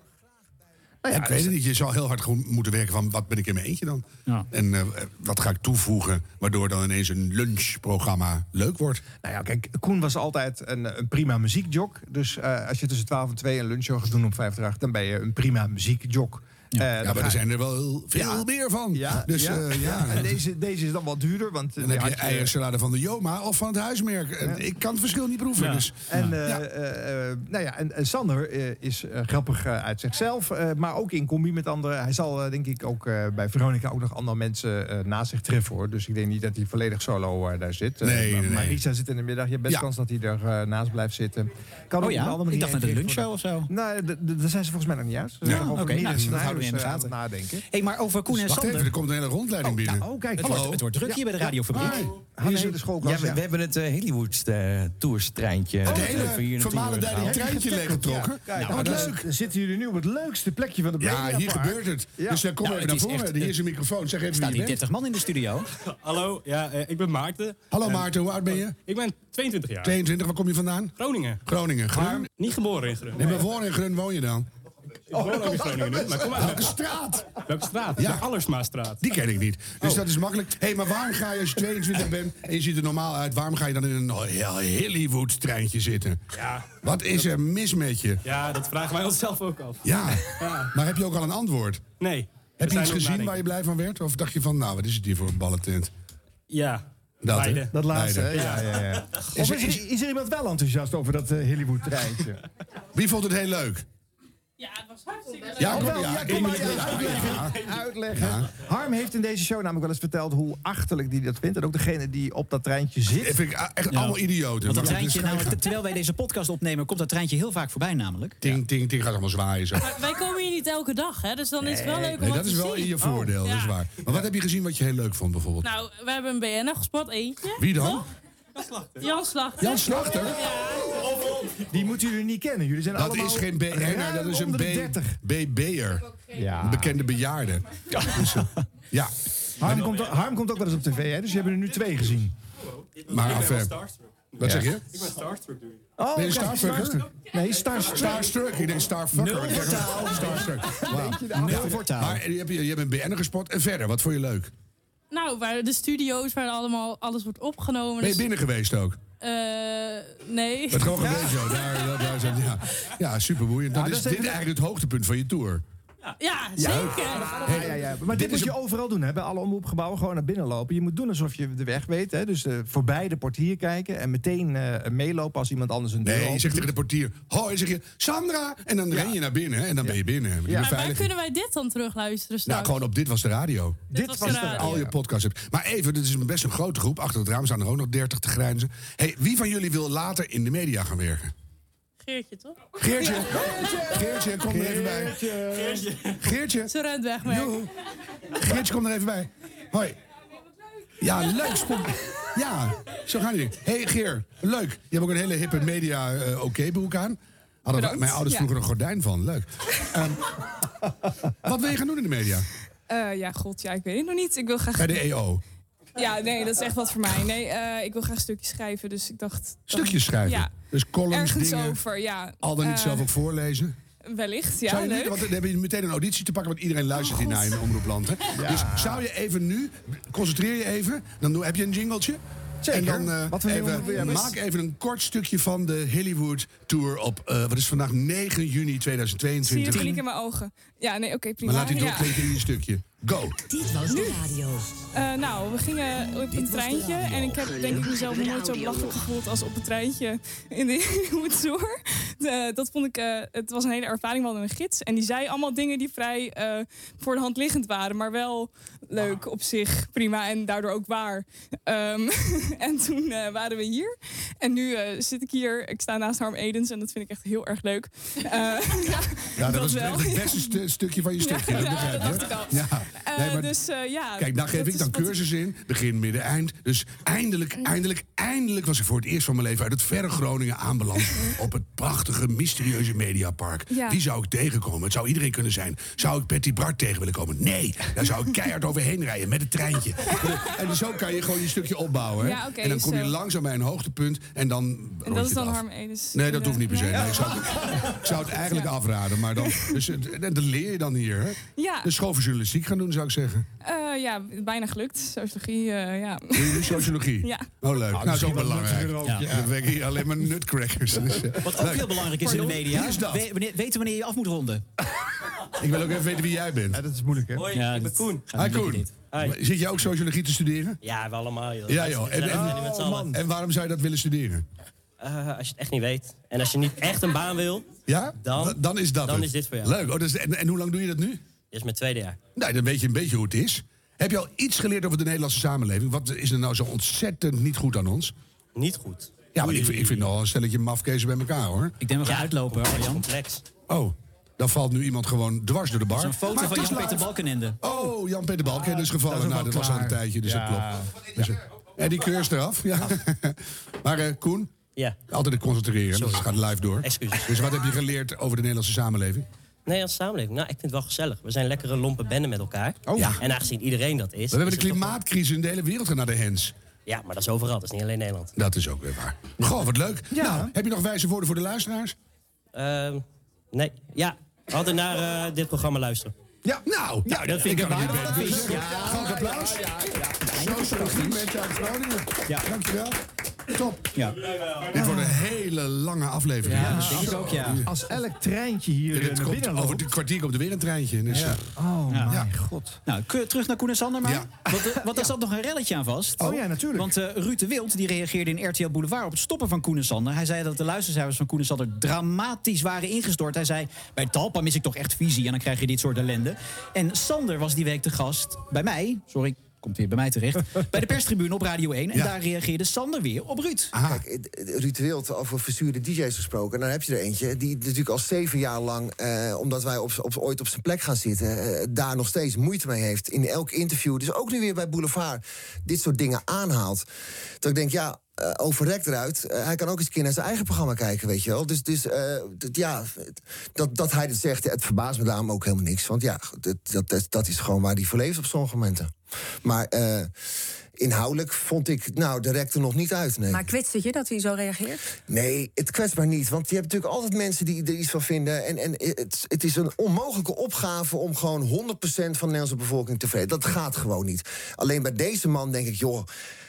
[SPEAKER 1] Nou ja,
[SPEAKER 3] ik weet het niet. Je zou heel hard gewoon moeten werken van wat ben ik in mijn eentje dan?
[SPEAKER 2] Ja.
[SPEAKER 3] En eh, wat ga ik toevoegen, waardoor dan ineens een lunchprogramma leuk wordt?
[SPEAKER 1] Nou ja, kijk, Koen was altijd een, een prima muziekjok. Dus eh, als je tussen 12 en 2 een lunchshow gaat doen om 5 dan ben je een prima muziekjok. Eh, dan
[SPEAKER 3] Ja, maar
[SPEAKER 1] ga-
[SPEAKER 3] er zijn er wel heel veel
[SPEAKER 1] Ja.
[SPEAKER 3] meer van.
[SPEAKER 1] Ja,
[SPEAKER 3] dus
[SPEAKER 1] ja.
[SPEAKER 3] eh, ja.
[SPEAKER 1] En deze, deze is dan wat duurder, want... eh,
[SPEAKER 3] Dan heb
[SPEAKER 1] die
[SPEAKER 3] je
[SPEAKER 1] had je-
[SPEAKER 3] eiersalade van de Joma of van het huismerk. Eh, Ik kan het verschil niet proeven.
[SPEAKER 2] Ja.
[SPEAKER 3] Dus.
[SPEAKER 1] En, eh,
[SPEAKER 3] Ja.
[SPEAKER 1] eh, eh, nou ja, en, en Sander eh, is eh, grappig eh, uit zichzelf, eh, maar ook in combi met anderen. Hij zal eh, denk ik ook eh, bij Veronica ook nog andere mensen eh, naast zich treffen hoor. Dus ik denk niet dat hij volledig solo eh, daar zit. Eh,
[SPEAKER 3] Nee,
[SPEAKER 1] maar
[SPEAKER 3] nee, nee.
[SPEAKER 1] Marisa zit in de middag. Je hebt best
[SPEAKER 3] Ja.
[SPEAKER 1] kans dat hij er eh, naast blijft zitten. Kan
[SPEAKER 2] Oh
[SPEAKER 1] ook op een
[SPEAKER 2] ja,
[SPEAKER 1] andere manier
[SPEAKER 2] ik dacht naar de
[SPEAKER 1] ingericht
[SPEAKER 2] lunchshow
[SPEAKER 1] worden.
[SPEAKER 2] of zo.
[SPEAKER 1] Nou, d- d- daar zijn ze volgens mij nog niet uit. Ze zijn nog
[SPEAKER 2] oké,
[SPEAKER 1] over een
[SPEAKER 2] nou,
[SPEAKER 1] ieder
[SPEAKER 2] dat
[SPEAKER 1] scenario,
[SPEAKER 2] houden we in de
[SPEAKER 1] eh, aan
[SPEAKER 2] gaten.
[SPEAKER 1] het nadenken.
[SPEAKER 2] hey, maar over Koen
[SPEAKER 1] Dus
[SPEAKER 2] en
[SPEAKER 3] Wacht
[SPEAKER 2] Sander.
[SPEAKER 3] even, er komt een hele rondleiding binnen.
[SPEAKER 1] Oh, kijk.
[SPEAKER 2] het, wordt, het wordt druk hier bij de radiofabriek.
[SPEAKER 1] Hij
[SPEAKER 2] Ah,
[SPEAKER 1] is in de
[SPEAKER 11] Ja,
[SPEAKER 1] schoolklas.
[SPEAKER 11] we, we hebben het eh, Hollywood eh, Tours treintje.
[SPEAKER 3] Het
[SPEAKER 11] eh, van hier
[SPEAKER 3] hele
[SPEAKER 11] naartoe eh,
[SPEAKER 3] vermalen daar die
[SPEAKER 11] gehaald.
[SPEAKER 3] treintje leeggetrokken.
[SPEAKER 1] Kijk,
[SPEAKER 11] maar
[SPEAKER 1] wat
[SPEAKER 11] dat is-
[SPEAKER 1] leuk. Dan zitten jullie nu op het leukste plekje van de
[SPEAKER 3] Nou, Ja, hier
[SPEAKER 1] Mediapark.
[SPEAKER 3] gebeurt het.
[SPEAKER 1] Ja.
[SPEAKER 3] Dus eh, kom
[SPEAKER 2] Nou,
[SPEAKER 3] even
[SPEAKER 2] het
[SPEAKER 3] naar
[SPEAKER 2] is
[SPEAKER 3] voren.
[SPEAKER 2] echt-
[SPEAKER 3] Hier is een microfoon. Zeg even
[SPEAKER 2] Staat
[SPEAKER 3] wie je
[SPEAKER 2] hier
[SPEAKER 3] bent.
[SPEAKER 2] 30 man in de studio.
[SPEAKER 11] Hallo, ja, eh, ik ben Maarten.
[SPEAKER 3] Hallo Maarten, hoe oud ben je?
[SPEAKER 11] Ik ben 22 jaar.
[SPEAKER 3] 22, waar kom je vandaan?
[SPEAKER 11] Groningen.
[SPEAKER 3] Groningen, Grun.
[SPEAKER 11] Niet geboren in Groningen.
[SPEAKER 3] Nee, maar voor in Grun woon je dan?
[SPEAKER 11] Ik woon ook in Groningen nu, maar kom
[SPEAKER 3] Welke
[SPEAKER 11] uit.
[SPEAKER 3] straat?
[SPEAKER 11] Welke straat?
[SPEAKER 3] Ja.
[SPEAKER 11] De Allersmaastraat. Oh.
[SPEAKER 3] Die ken ik niet. Dus dat is makkelijk. Hé, hey, maar waarom ga je als je 22 bent en je ziet er normaal uit... waarom ga je dan in een Hollywood-treintje zitten?
[SPEAKER 11] Ja.
[SPEAKER 3] Wat is er mis met je?
[SPEAKER 11] ja, dat vragen wij onszelf ook af.
[SPEAKER 3] Ja, maar heb je ook al een antwoord?
[SPEAKER 11] Nee.
[SPEAKER 3] Heb
[SPEAKER 11] We
[SPEAKER 3] je
[SPEAKER 11] zijn
[SPEAKER 3] iets
[SPEAKER 11] nog
[SPEAKER 3] gezien
[SPEAKER 11] nadenken.
[SPEAKER 3] waar je blij van werd? Of dacht je van, nou, wat is het hier voor een ballentent?
[SPEAKER 11] Ja.
[SPEAKER 3] Dat, hè?
[SPEAKER 11] Beide.
[SPEAKER 1] Dat laatste,
[SPEAKER 3] Beide.
[SPEAKER 1] hè? ja, ja, ja. Of is, er, is er iemand wel enthousiast over dat eh, Hollywood-treintje?
[SPEAKER 3] Wie vond het heel leuk? Ja, het was
[SPEAKER 1] wel, ja,
[SPEAKER 3] hartstikke
[SPEAKER 1] kom
[SPEAKER 3] leuk.
[SPEAKER 1] maar,
[SPEAKER 3] Ja, kom, ja,
[SPEAKER 1] ja,
[SPEAKER 3] ik-
[SPEAKER 1] Uitleggen. Harm heeft in deze show namelijk wel eens verteld hoe achterlijk die dat vindt. En ook degene die op dat treintje
[SPEAKER 3] Dat
[SPEAKER 1] zit.
[SPEAKER 3] vind ik echt allemaal idioten.
[SPEAKER 2] Want dat
[SPEAKER 3] Maar goed,
[SPEAKER 2] treintje,
[SPEAKER 3] dus
[SPEAKER 2] nou,
[SPEAKER 3] ga-
[SPEAKER 2] terwijl wij deze podcast opnemen, komt dat treintje heel vaak voorbij namelijk.
[SPEAKER 3] Ting, ting, ting, gaat allemaal zwaaien zo.
[SPEAKER 12] Wij komen hier niet elke dag, hè? dus dan is het wel leuk om
[SPEAKER 3] Nee,
[SPEAKER 12] wat
[SPEAKER 3] dat is
[SPEAKER 12] te
[SPEAKER 3] wel
[SPEAKER 12] zien.
[SPEAKER 3] in
[SPEAKER 11] Oh,
[SPEAKER 3] je voordeel, dat is
[SPEAKER 12] Ja.
[SPEAKER 3] waar. Maar wat heb je gezien wat je heel leuk vond bijvoorbeeld?
[SPEAKER 12] Nou, we hebben een BN'er gespot, eentje.
[SPEAKER 3] Wie dan?
[SPEAKER 12] Jan Slachter.
[SPEAKER 3] Jan Slachter?
[SPEAKER 1] Die moeten jullie niet kennen. Jullie zijn
[SPEAKER 3] Dat
[SPEAKER 1] allemaal
[SPEAKER 3] is geen BN'er,
[SPEAKER 1] ruim
[SPEAKER 3] dat is een
[SPEAKER 1] onder de
[SPEAKER 3] B-
[SPEAKER 1] 30.
[SPEAKER 3] BB'er. Een
[SPEAKER 1] Ja.
[SPEAKER 3] bekende bejaarde. Ja. Dus, eh, ja.
[SPEAKER 1] Harm, komt, ook- Harm komt ook wel eens op tv, hè? dus je hebt er nu twee gezien.
[SPEAKER 3] Maar af, eh, Wat zeg je?
[SPEAKER 1] Oh,
[SPEAKER 3] Ben je
[SPEAKER 1] kijk,
[SPEAKER 3] Starstrucker?
[SPEAKER 1] Starstruck. Nee, Starstruck.
[SPEAKER 3] Starstruck. Ik denk Starfucker. Ik zeg wel Starstruck. Wauw.
[SPEAKER 2] Nul voortaal.
[SPEAKER 3] Maar eh, je hebt, je hebt een BN'er gespot. En verder, wat vond je leuk?
[SPEAKER 12] Nou, waar de studio's waar allemaal alles wordt opgenomen.
[SPEAKER 3] Ben je
[SPEAKER 12] Dus,
[SPEAKER 3] binnen geweest ook?
[SPEAKER 12] eh, nee.
[SPEAKER 3] Het gewoon geweest zo. Daar, daar, daar zijn- ja. ja, superboeiend. Dan
[SPEAKER 1] dat
[SPEAKER 3] is
[SPEAKER 1] is
[SPEAKER 3] dit
[SPEAKER 1] even-
[SPEAKER 3] eigenlijk het hoogtepunt van je tour.
[SPEAKER 12] Ja, zeker.
[SPEAKER 1] Ja, ja, ja. Maar dit,
[SPEAKER 3] Dit
[SPEAKER 1] moet
[SPEAKER 3] is
[SPEAKER 1] je overal doen, hè? bij alle omroepgebouwen. Gewoon naar binnen lopen. Je moet doen alsof je de weg weet. Hè? Dus eh, voorbij de portier kijken en meteen eh, meelopen als iemand anders een deur
[SPEAKER 3] Nee, je
[SPEAKER 1] opent.
[SPEAKER 3] zegt tegen de portier, hoi, zeg je, Sandra. En dan ren je naar binnen hè, en dan ben je binnen. Die
[SPEAKER 12] Maar waar
[SPEAKER 3] beveiliging.
[SPEAKER 12] kunnen wij dit dan terugluisteren
[SPEAKER 3] Nou,
[SPEAKER 12] straks?
[SPEAKER 3] gewoon op Dit Was De Radio.
[SPEAKER 1] Dit
[SPEAKER 12] was
[SPEAKER 1] was
[SPEAKER 12] de
[SPEAKER 1] de
[SPEAKER 12] radio.
[SPEAKER 3] Al je podcasts hebt. Maar even, dit is een best een grote groep. Achter het raam staan er ook nog 30 te grijnzen. Hey, wie van jullie wil later in de media gaan werken?
[SPEAKER 12] Geertje, toch?
[SPEAKER 3] Geertje. Geertje, kom er even bij. Geertje.
[SPEAKER 12] Ze rent weg, maar...
[SPEAKER 3] Joe. Geertje, kom er even bij. Hoi. Ja, leuk. spo- Ja, zo gaan die dingen. Hé hey, Geer, leuk. Je hebt ook een hele hippe media eh, oké-broek aan. Hadden
[SPEAKER 13] Bedankt.
[SPEAKER 3] mijn ouders
[SPEAKER 13] Ja.
[SPEAKER 3] vroeger een gordijn van. Leuk. Ehm, wat wil je gaan doen in de media?
[SPEAKER 13] Eh, ja, god, ja, ik weet het nog niet. Ik wil graag...
[SPEAKER 3] Bij de E EO.
[SPEAKER 13] Ja, nee, dat is echt wat voor mij. Nee, eh, ik wil graag stukjes schrijven, dus ik dacht... dan-
[SPEAKER 3] Stukjes schrijven.
[SPEAKER 13] Ja,
[SPEAKER 3] Dus columns,
[SPEAKER 13] ergens
[SPEAKER 3] dingen.
[SPEAKER 13] over, ja.
[SPEAKER 3] Al dan niet
[SPEAKER 13] Eh,
[SPEAKER 3] zelf ook voorlezen.
[SPEAKER 13] Wellicht, ja,
[SPEAKER 3] Zou je niet-
[SPEAKER 13] leuk. Oh,
[SPEAKER 3] want dan heb je meteen een auditie te pakken, want iedereen luistert hiernaar in Omroepland. Hè? Dus zou je even nu, concentreer je even, dan doe- heb je een jingletje. En dan eh,
[SPEAKER 5] Wat voor
[SPEAKER 3] even-
[SPEAKER 5] jingle wil jij hebben?
[SPEAKER 3] maak even een kort stukje van de Hollywood Tour op, eh, wat is vandaag, 9 juni
[SPEAKER 13] Zie je de
[SPEAKER 3] 2022.
[SPEAKER 13] klink in mijn ogen? Ja, nee, oké, prima.
[SPEAKER 3] maar laat die
[SPEAKER 13] ja.
[SPEAKER 3] doorklinken in je stukje. Go!
[SPEAKER 13] Dit was de radio. nou, we gingen op een treintje. En ik heb denk ik mezelf nog nooit zo belachelijk gevoeld als op een treintje in de Hoedsoer. Dat vond ik, eh, het was een hele ervaring. We hadden een gids. En die zei allemaal dingen die vrij eh, voor de hand liggend waren. Maar wel leuk op zich, prima. En daardoor ook waar. Ehm, en toen eh, waren we hier. En nu eh, zit ik hier. Ik sta naast Harm Edens. En dat vind ik echt heel erg leuk. Eh, ja,
[SPEAKER 3] Ja, dat was het
[SPEAKER 13] Ja.
[SPEAKER 3] beste stu- stukje van je stukje.
[SPEAKER 13] Ja,
[SPEAKER 3] dat
[SPEAKER 13] ja,
[SPEAKER 3] begrijp
[SPEAKER 13] dat
[SPEAKER 3] je.
[SPEAKER 13] dacht ik al.
[SPEAKER 3] Ja.
[SPEAKER 13] Eh,
[SPEAKER 3] Nee, maar-
[SPEAKER 13] dus eh, ja.
[SPEAKER 3] Kijk, daar geef
[SPEAKER 13] dat
[SPEAKER 3] ik
[SPEAKER 13] is
[SPEAKER 3] dan
[SPEAKER 13] wat ik-
[SPEAKER 3] cursus in. Begin, midden, eind. Dus eindelijk, eindelijk, eindelijk was ik voor het eerst van mijn leven uit het verre Groningen aanbeland. op het prachtige, mysterieuze Mediapark.
[SPEAKER 13] Ja.
[SPEAKER 3] Wie zou ik tegenkomen? Het zou iedereen kunnen zijn. Zou ik Patty Bart tegen willen komen? Nee, daar zou ik keihard overheen rijden met het treintje. en zo kan je gewoon je stukje opbouwen. hè?
[SPEAKER 13] Ja, oké,
[SPEAKER 3] en dan kom je
[SPEAKER 13] zo.
[SPEAKER 3] langzaam bij een hoogtepunt. En dan.
[SPEAKER 13] En
[SPEAKER 3] rond
[SPEAKER 13] dat
[SPEAKER 3] Oh, je
[SPEAKER 13] is
[SPEAKER 3] het
[SPEAKER 13] dan
[SPEAKER 3] af.
[SPEAKER 13] Harm Edens.
[SPEAKER 3] Nee, dat hoeft niet per se.
[SPEAKER 13] Nee.
[SPEAKER 3] Nee, ik, zou het, ik zou het eigenlijk afraden. Maar dan, dus, het- dat leer je dan hier. Hè?
[SPEAKER 13] Ja.
[SPEAKER 3] Dus school voor journalistiek gaan doen, zou ik zeggen.
[SPEAKER 13] Eh, ja, bijna gelukt. Sociologie, eh, ja.
[SPEAKER 3] Doe je nu sociologie?
[SPEAKER 13] Ja.
[SPEAKER 3] Oh, leuk.
[SPEAKER 5] Ah,
[SPEAKER 3] nou, zo
[SPEAKER 5] misschien wat
[SPEAKER 3] belangrijk.
[SPEAKER 5] nuttiger ook, ja.
[SPEAKER 3] Ja. Dan ben ik hier alleen maar nutcrackers. Dus, eh,
[SPEAKER 2] Wat ook
[SPEAKER 3] leuk.
[SPEAKER 2] heel belangrijk is in de
[SPEAKER 3] Pardon?
[SPEAKER 2] media.
[SPEAKER 3] Wie is dat?
[SPEAKER 2] we- wanneer- weten wanneer je af moet ronden.
[SPEAKER 3] Ik wil ook even weten wie jij bent.
[SPEAKER 5] Ja, dat is moeilijk, hè?
[SPEAKER 2] Ja,
[SPEAKER 11] ik ben
[SPEAKER 2] dat-
[SPEAKER 11] Koen.
[SPEAKER 2] Ja,
[SPEAKER 3] Hi,
[SPEAKER 2] dat weet
[SPEAKER 3] Koen.
[SPEAKER 2] ik niet.
[SPEAKER 3] Maar Zit jij ook sociologie te studeren?
[SPEAKER 11] Ja, we allemaal. Joh.
[SPEAKER 3] Ja, joh. En,
[SPEAKER 11] En,
[SPEAKER 3] en,
[SPEAKER 11] met z'n
[SPEAKER 3] oh,
[SPEAKER 11] allen.
[SPEAKER 3] man. en waarom zou je dat willen studeren?
[SPEAKER 11] Eh, als je het echt niet weet. En als je niet echt een baan wil,
[SPEAKER 3] Ja?
[SPEAKER 11] Dan-
[SPEAKER 3] Da- dan is dat
[SPEAKER 11] dan
[SPEAKER 3] het.
[SPEAKER 11] is dit voor jou.
[SPEAKER 3] Leuk. Oh, dat is- en, en hoe lang doe je dat nu?
[SPEAKER 11] is mijn tweede jaar.
[SPEAKER 3] Nou, dan weet je een beetje hoe het is. Heb je al iets geleerd over de Nederlandse samenleving? Wat is er nou zo ontzettend niet goed aan ons?
[SPEAKER 11] Niet goed.
[SPEAKER 3] Ja, maar ik, vind- ik vind al een stelletje mafkezen bij elkaar, hoor.
[SPEAKER 2] Ik denk we gaan uitlopen, hoor, Jan.
[SPEAKER 11] Complex.
[SPEAKER 3] Oh, dan valt nu iemand gewoon dwars door de bar.
[SPEAKER 2] Zo'n foto
[SPEAKER 3] Maar het
[SPEAKER 2] van
[SPEAKER 3] is
[SPEAKER 2] Jan-Peter
[SPEAKER 3] live.
[SPEAKER 2] Balkenende.
[SPEAKER 3] Oh, Jan-Peter Balken is gevallen.
[SPEAKER 5] dat is ook
[SPEAKER 3] nou,
[SPEAKER 5] wel
[SPEAKER 3] dat was al een
[SPEAKER 5] klaar.
[SPEAKER 3] tijdje, dus
[SPEAKER 5] Ja.
[SPEAKER 3] dat klopt. Dus, en die keur is eraf. Ja. maar eh, Koen,
[SPEAKER 11] Ja.
[SPEAKER 3] altijd het concentreren. Dat gaat live door.
[SPEAKER 11] Excuses.
[SPEAKER 3] Dus wat heb je geleerd over de Nederlandse samenleving?
[SPEAKER 11] Nederlandse samenleving. Nou, ik vind het wel gezellig. We zijn lekkere lompe benden met elkaar.
[SPEAKER 3] Oh. Ja.
[SPEAKER 11] En aangezien iedereen dat is.
[SPEAKER 3] We hebben
[SPEAKER 11] is
[SPEAKER 3] de
[SPEAKER 11] het toch
[SPEAKER 3] klimaatcrisis in de hele wereld gaat naar de hens.
[SPEAKER 11] wel- Ja, maar dat is overal. Dat is niet alleen Nederland.
[SPEAKER 3] Dat is ook weer waar. Goh, wat leuk. Nou, heb je nog wijze woorden voor de luisteraars?
[SPEAKER 11] Ehm, nee. Ja. We hadden naar eh, dit programma luisteren.
[SPEAKER 3] Ja, nou, nou
[SPEAKER 11] dat vind ik
[SPEAKER 3] kan
[SPEAKER 11] een
[SPEAKER 3] het niet
[SPEAKER 11] waarde.
[SPEAKER 3] beter zeggen. Groot applaus. Sociologie, mensen uit Groningen. Dankjewel. Top.
[SPEAKER 2] Ja.
[SPEAKER 3] Dit wordt een hele lange aflevering.
[SPEAKER 2] Ja,
[SPEAKER 3] hè?
[SPEAKER 2] dat denk ik ook, ja.
[SPEAKER 5] Als elk treintje hier
[SPEAKER 3] Dit
[SPEAKER 5] eh, naar
[SPEAKER 3] komt,
[SPEAKER 5] binnen
[SPEAKER 3] over
[SPEAKER 5] loopt...
[SPEAKER 3] de kwartier komt er weer een treintje. Dus, eh,
[SPEAKER 5] Oh,
[SPEAKER 2] Ja.
[SPEAKER 5] mijn god.
[SPEAKER 2] Nou, kun- terug naar Koen en Sander maar.
[SPEAKER 3] Ja.
[SPEAKER 2] Want, eh, want daar zat nog een relletje aan vast.
[SPEAKER 5] Oh ja, natuurlijk.
[SPEAKER 2] Want eh, Ruud de Wild die reageerde in RTL Boulevard op het stoppen van Koen en Sander. Hij zei dat de luistercijfers van Koen en Sander dramatisch waren ingestort. Hij zei, bij Talpa mis ik toch echt visie en dan krijg je dit soort ellende. En Sander was die week de gast bij mij, sorry, komt weer bij mij terecht, bij de perstribune op Radio 1. En
[SPEAKER 3] Ja.
[SPEAKER 2] daar reageerde Sander weer op Ruud.
[SPEAKER 10] Kijk, eh, Ruud de Wild, over verzuurde DJ's gesproken. En dan heb je er eentje die natuurlijk al zeven jaar lang, eh, omdat wij op, z'n- op, z'n- ooit op zijn plek gaan zitten, eh, daar nog steeds moeite mee heeft. In elk interview, dus ook nu weer bij Boulevard, dit soort dingen aanhaalt. Dat ik denk, ja. eh overrekt eruit. Eh, hij kan ook eens een keer naar zijn eigen programma kijken, weet je wel. Dus, dus eh, dat- ja, dat, dat hij dit zegt, het verbaast me daarom ook helemaal niks. Want ja, goed, dat, dat, dat, dat is gewoon waar hij voor leeft op sommige momenten. Maar eh, inhoudelijk vond ik, nou, de rekte nog niet uit. Nee.
[SPEAKER 14] Maar kwetst het je dat hij zo reageert?
[SPEAKER 10] Nee, het kwetst maar niet. Want je hebt natuurlijk altijd mensen die er iets van vinden. En, en het, het is een onmogelijke opgave om gewoon 100% van de Nederlandse bevolking tevreden. Dat gaat gewoon niet. Alleen bij deze man denk ik, joh,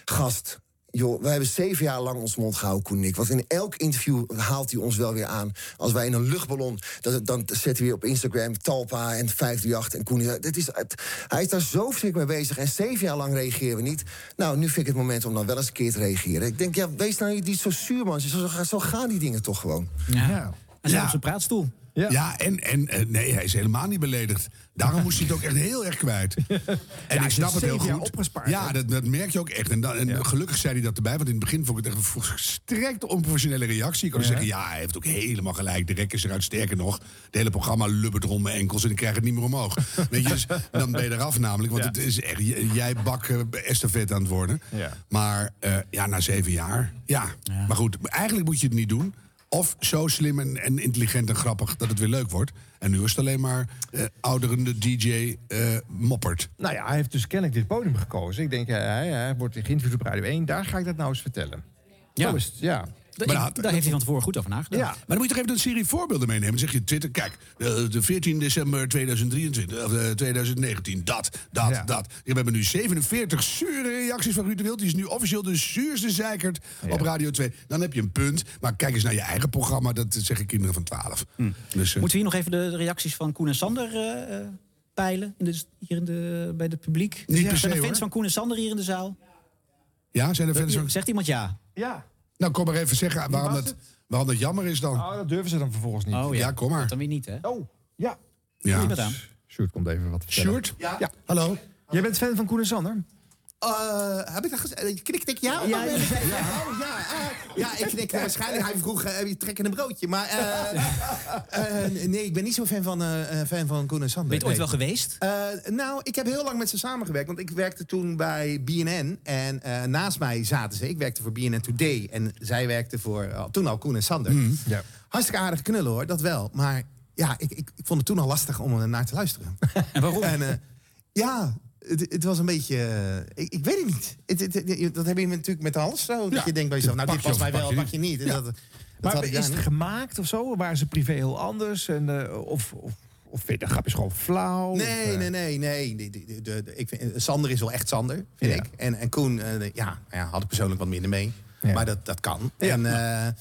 [SPEAKER 10] gast. Joh, we hebben zeven jaar lang ons mond gehouden, Koen en ik. Want in elk interview haalt hij ons wel weer aan. Als wij in een luchtballon, dan, dan zet hij weer op Instagram... Talpa en 538 en Koen. Dat is, het- hij is daar zo verschrikkelijk mee bezig. En zeven jaar lang reageren we niet. Nou, nu vind ik het moment om dan wel eens een keer te reageren. Ik denk, ja, wees nou niet zo zuur, man. Zo, zo gaan die dingen toch gewoon.
[SPEAKER 2] Ja. Hij zat
[SPEAKER 3] Ja.
[SPEAKER 2] op zijn praatstoel.
[SPEAKER 3] Ja, en, en eh, nee, hij is helemaal niet beledigd. Daarom moest hij het ook echt heel erg kwijt. En
[SPEAKER 1] hij
[SPEAKER 3] ik
[SPEAKER 1] is
[SPEAKER 3] snap het heel
[SPEAKER 1] zeven jaar
[SPEAKER 3] goed.
[SPEAKER 1] opgespaard,
[SPEAKER 3] ja,
[SPEAKER 1] hè?
[SPEAKER 3] dat, dat merk je ook echt. En, dan, en gelukkig zei hij dat erbij, want in het begin vond ik het echt een volstrekt onprofessionele reactie. Ik kon
[SPEAKER 1] Ja.
[SPEAKER 3] zeggen, ja, hij heeft ook helemaal gelijk. De rek is eruit. Sterker nog, het hele programma lubbert rond mijn enkels en ik krijg het niet meer omhoog. Weet je, dus dan ben je eraf namelijk. Want
[SPEAKER 1] Ja.
[SPEAKER 3] het is echt, j- jij bak eh, estafette aan het worden.
[SPEAKER 1] Ja.
[SPEAKER 3] Maar eh, ja, na zeven jaar, ja. Maar goed, eigenlijk moet je het niet doen. Of zo slim en, en intelligent en grappig dat het weer leuk wordt. En nu is het alleen maar eh, ouderende DJ eh, moppert.
[SPEAKER 1] Nou ja, hij heeft dus kennelijk dit podium gekozen. Ik denk, eh, hij, hij wordt geïnterviewd op Radio 1. Daar ga ik dat nou eens vertellen.
[SPEAKER 2] Ja.
[SPEAKER 1] Zo is het, ja.
[SPEAKER 2] Da- ik- daar heeft hij van tevoren goed over nagedacht.
[SPEAKER 3] Ja. Maar dan moet je toch even een serie voorbeelden meenemen. Dan zeg je Twitter, kijk, de, de 14 december 2023, of eh, 2019, dat, dat, dat. We hebben nu 47 zure reacties van Ruud de Wild. Die is nu officieel de zuurste zeikert op Radio 2. Dan heb je een punt. Maar kijk eens naar je eigen programma. Dat zeggen kinderen van 12.
[SPEAKER 2] Hm.
[SPEAKER 3] Dus, eh,
[SPEAKER 2] Moeten we hier nog even de reacties van Koen en Sander eh, eh, peilen? In de, hier in de, bij het publiek?
[SPEAKER 3] Niet per se,
[SPEAKER 2] Zijn er fans
[SPEAKER 3] hoor.
[SPEAKER 2] van Koen en Sander hier in de zaal?
[SPEAKER 3] ja, zijn er fans van...
[SPEAKER 2] Zegt iemand ja?
[SPEAKER 1] Ja.
[SPEAKER 3] Nou, kom maar even zeggen waarom
[SPEAKER 1] was
[SPEAKER 3] dat, waarom dat jammer is dan.
[SPEAKER 1] Oh, dat durven ze dan vervolgens niet.
[SPEAKER 2] Oh,
[SPEAKER 3] ja. kom maar.
[SPEAKER 2] Dan weer niet, hè?
[SPEAKER 1] Oh, ja.
[SPEAKER 3] Ja.
[SPEAKER 1] Goed gedaan. Sjoerd komt even wat vertellen.
[SPEAKER 3] Sjoerd?
[SPEAKER 1] Ja.
[SPEAKER 3] Hallo.
[SPEAKER 1] Jij bent fan van Koen en Sander?
[SPEAKER 15] Eh, heb ik dat gezegd? Knikt ik ja? Ja, ja, Oh, ja, ah. ja, ik knikte waarschijnlijk. Hij vroeg, eh, heb je trek in een broodje? Maar
[SPEAKER 10] eh,
[SPEAKER 15] eh, eh, nee, ik ben niet zo'n fan van, eh, eh, fan van Koen en Sander.
[SPEAKER 2] Ben je het ooit
[SPEAKER 15] Nee.
[SPEAKER 2] wel geweest?
[SPEAKER 15] Eh, nou, ik heb heel lang met ze samengewerkt. Want ik werkte toen bij BNN. En eh, naast mij zaten ze. Ik werkte voor BNN Today. En zij werkte voor, eh, toen al, Koen en Sander.
[SPEAKER 1] Ja.
[SPEAKER 15] Hartstikke aardig knullen hoor, dat wel. Maar ja, ik, ik, ik vond het toen al lastig om er naar te luisteren. En waarom? ja, het, het was een beetje... eh, ik, ik weet het niet. Het, het- het- dat heb je natuurlijk met alles zo. Dat
[SPEAKER 1] Ja.
[SPEAKER 15] je denkt bij jezelf, nou
[SPEAKER 1] Pak
[SPEAKER 15] dit
[SPEAKER 1] je
[SPEAKER 15] past
[SPEAKER 1] of
[SPEAKER 15] mij
[SPEAKER 1] pak
[SPEAKER 15] wel,
[SPEAKER 1] je
[SPEAKER 15] pak je niet. En
[SPEAKER 1] Ja.
[SPEAKER 15] dat- dat had
[SPEAKER 1] maar
[SPEAKER 15] ik
[SPEAKER 1] is
[SPEAKER 15] daar
[SPEAKER 1] het
[SPEAKER 15] niet.
[SPEAKER 1] gemaakt of zo? Waren ze privé heel anders? En, eh, of, of, of vind je de grapjes gewoon flauw? eh?
[SPEAKER 15] Nee, nee, nee, nee. De, de, de, de- ik vind, eh, Sander is wel echt Sander, vind ik. En, en Koen, eh, de- ja, nou ja, had ik persoonlijk wat minder mee. Maar dat, dat kan. En, eh, eh,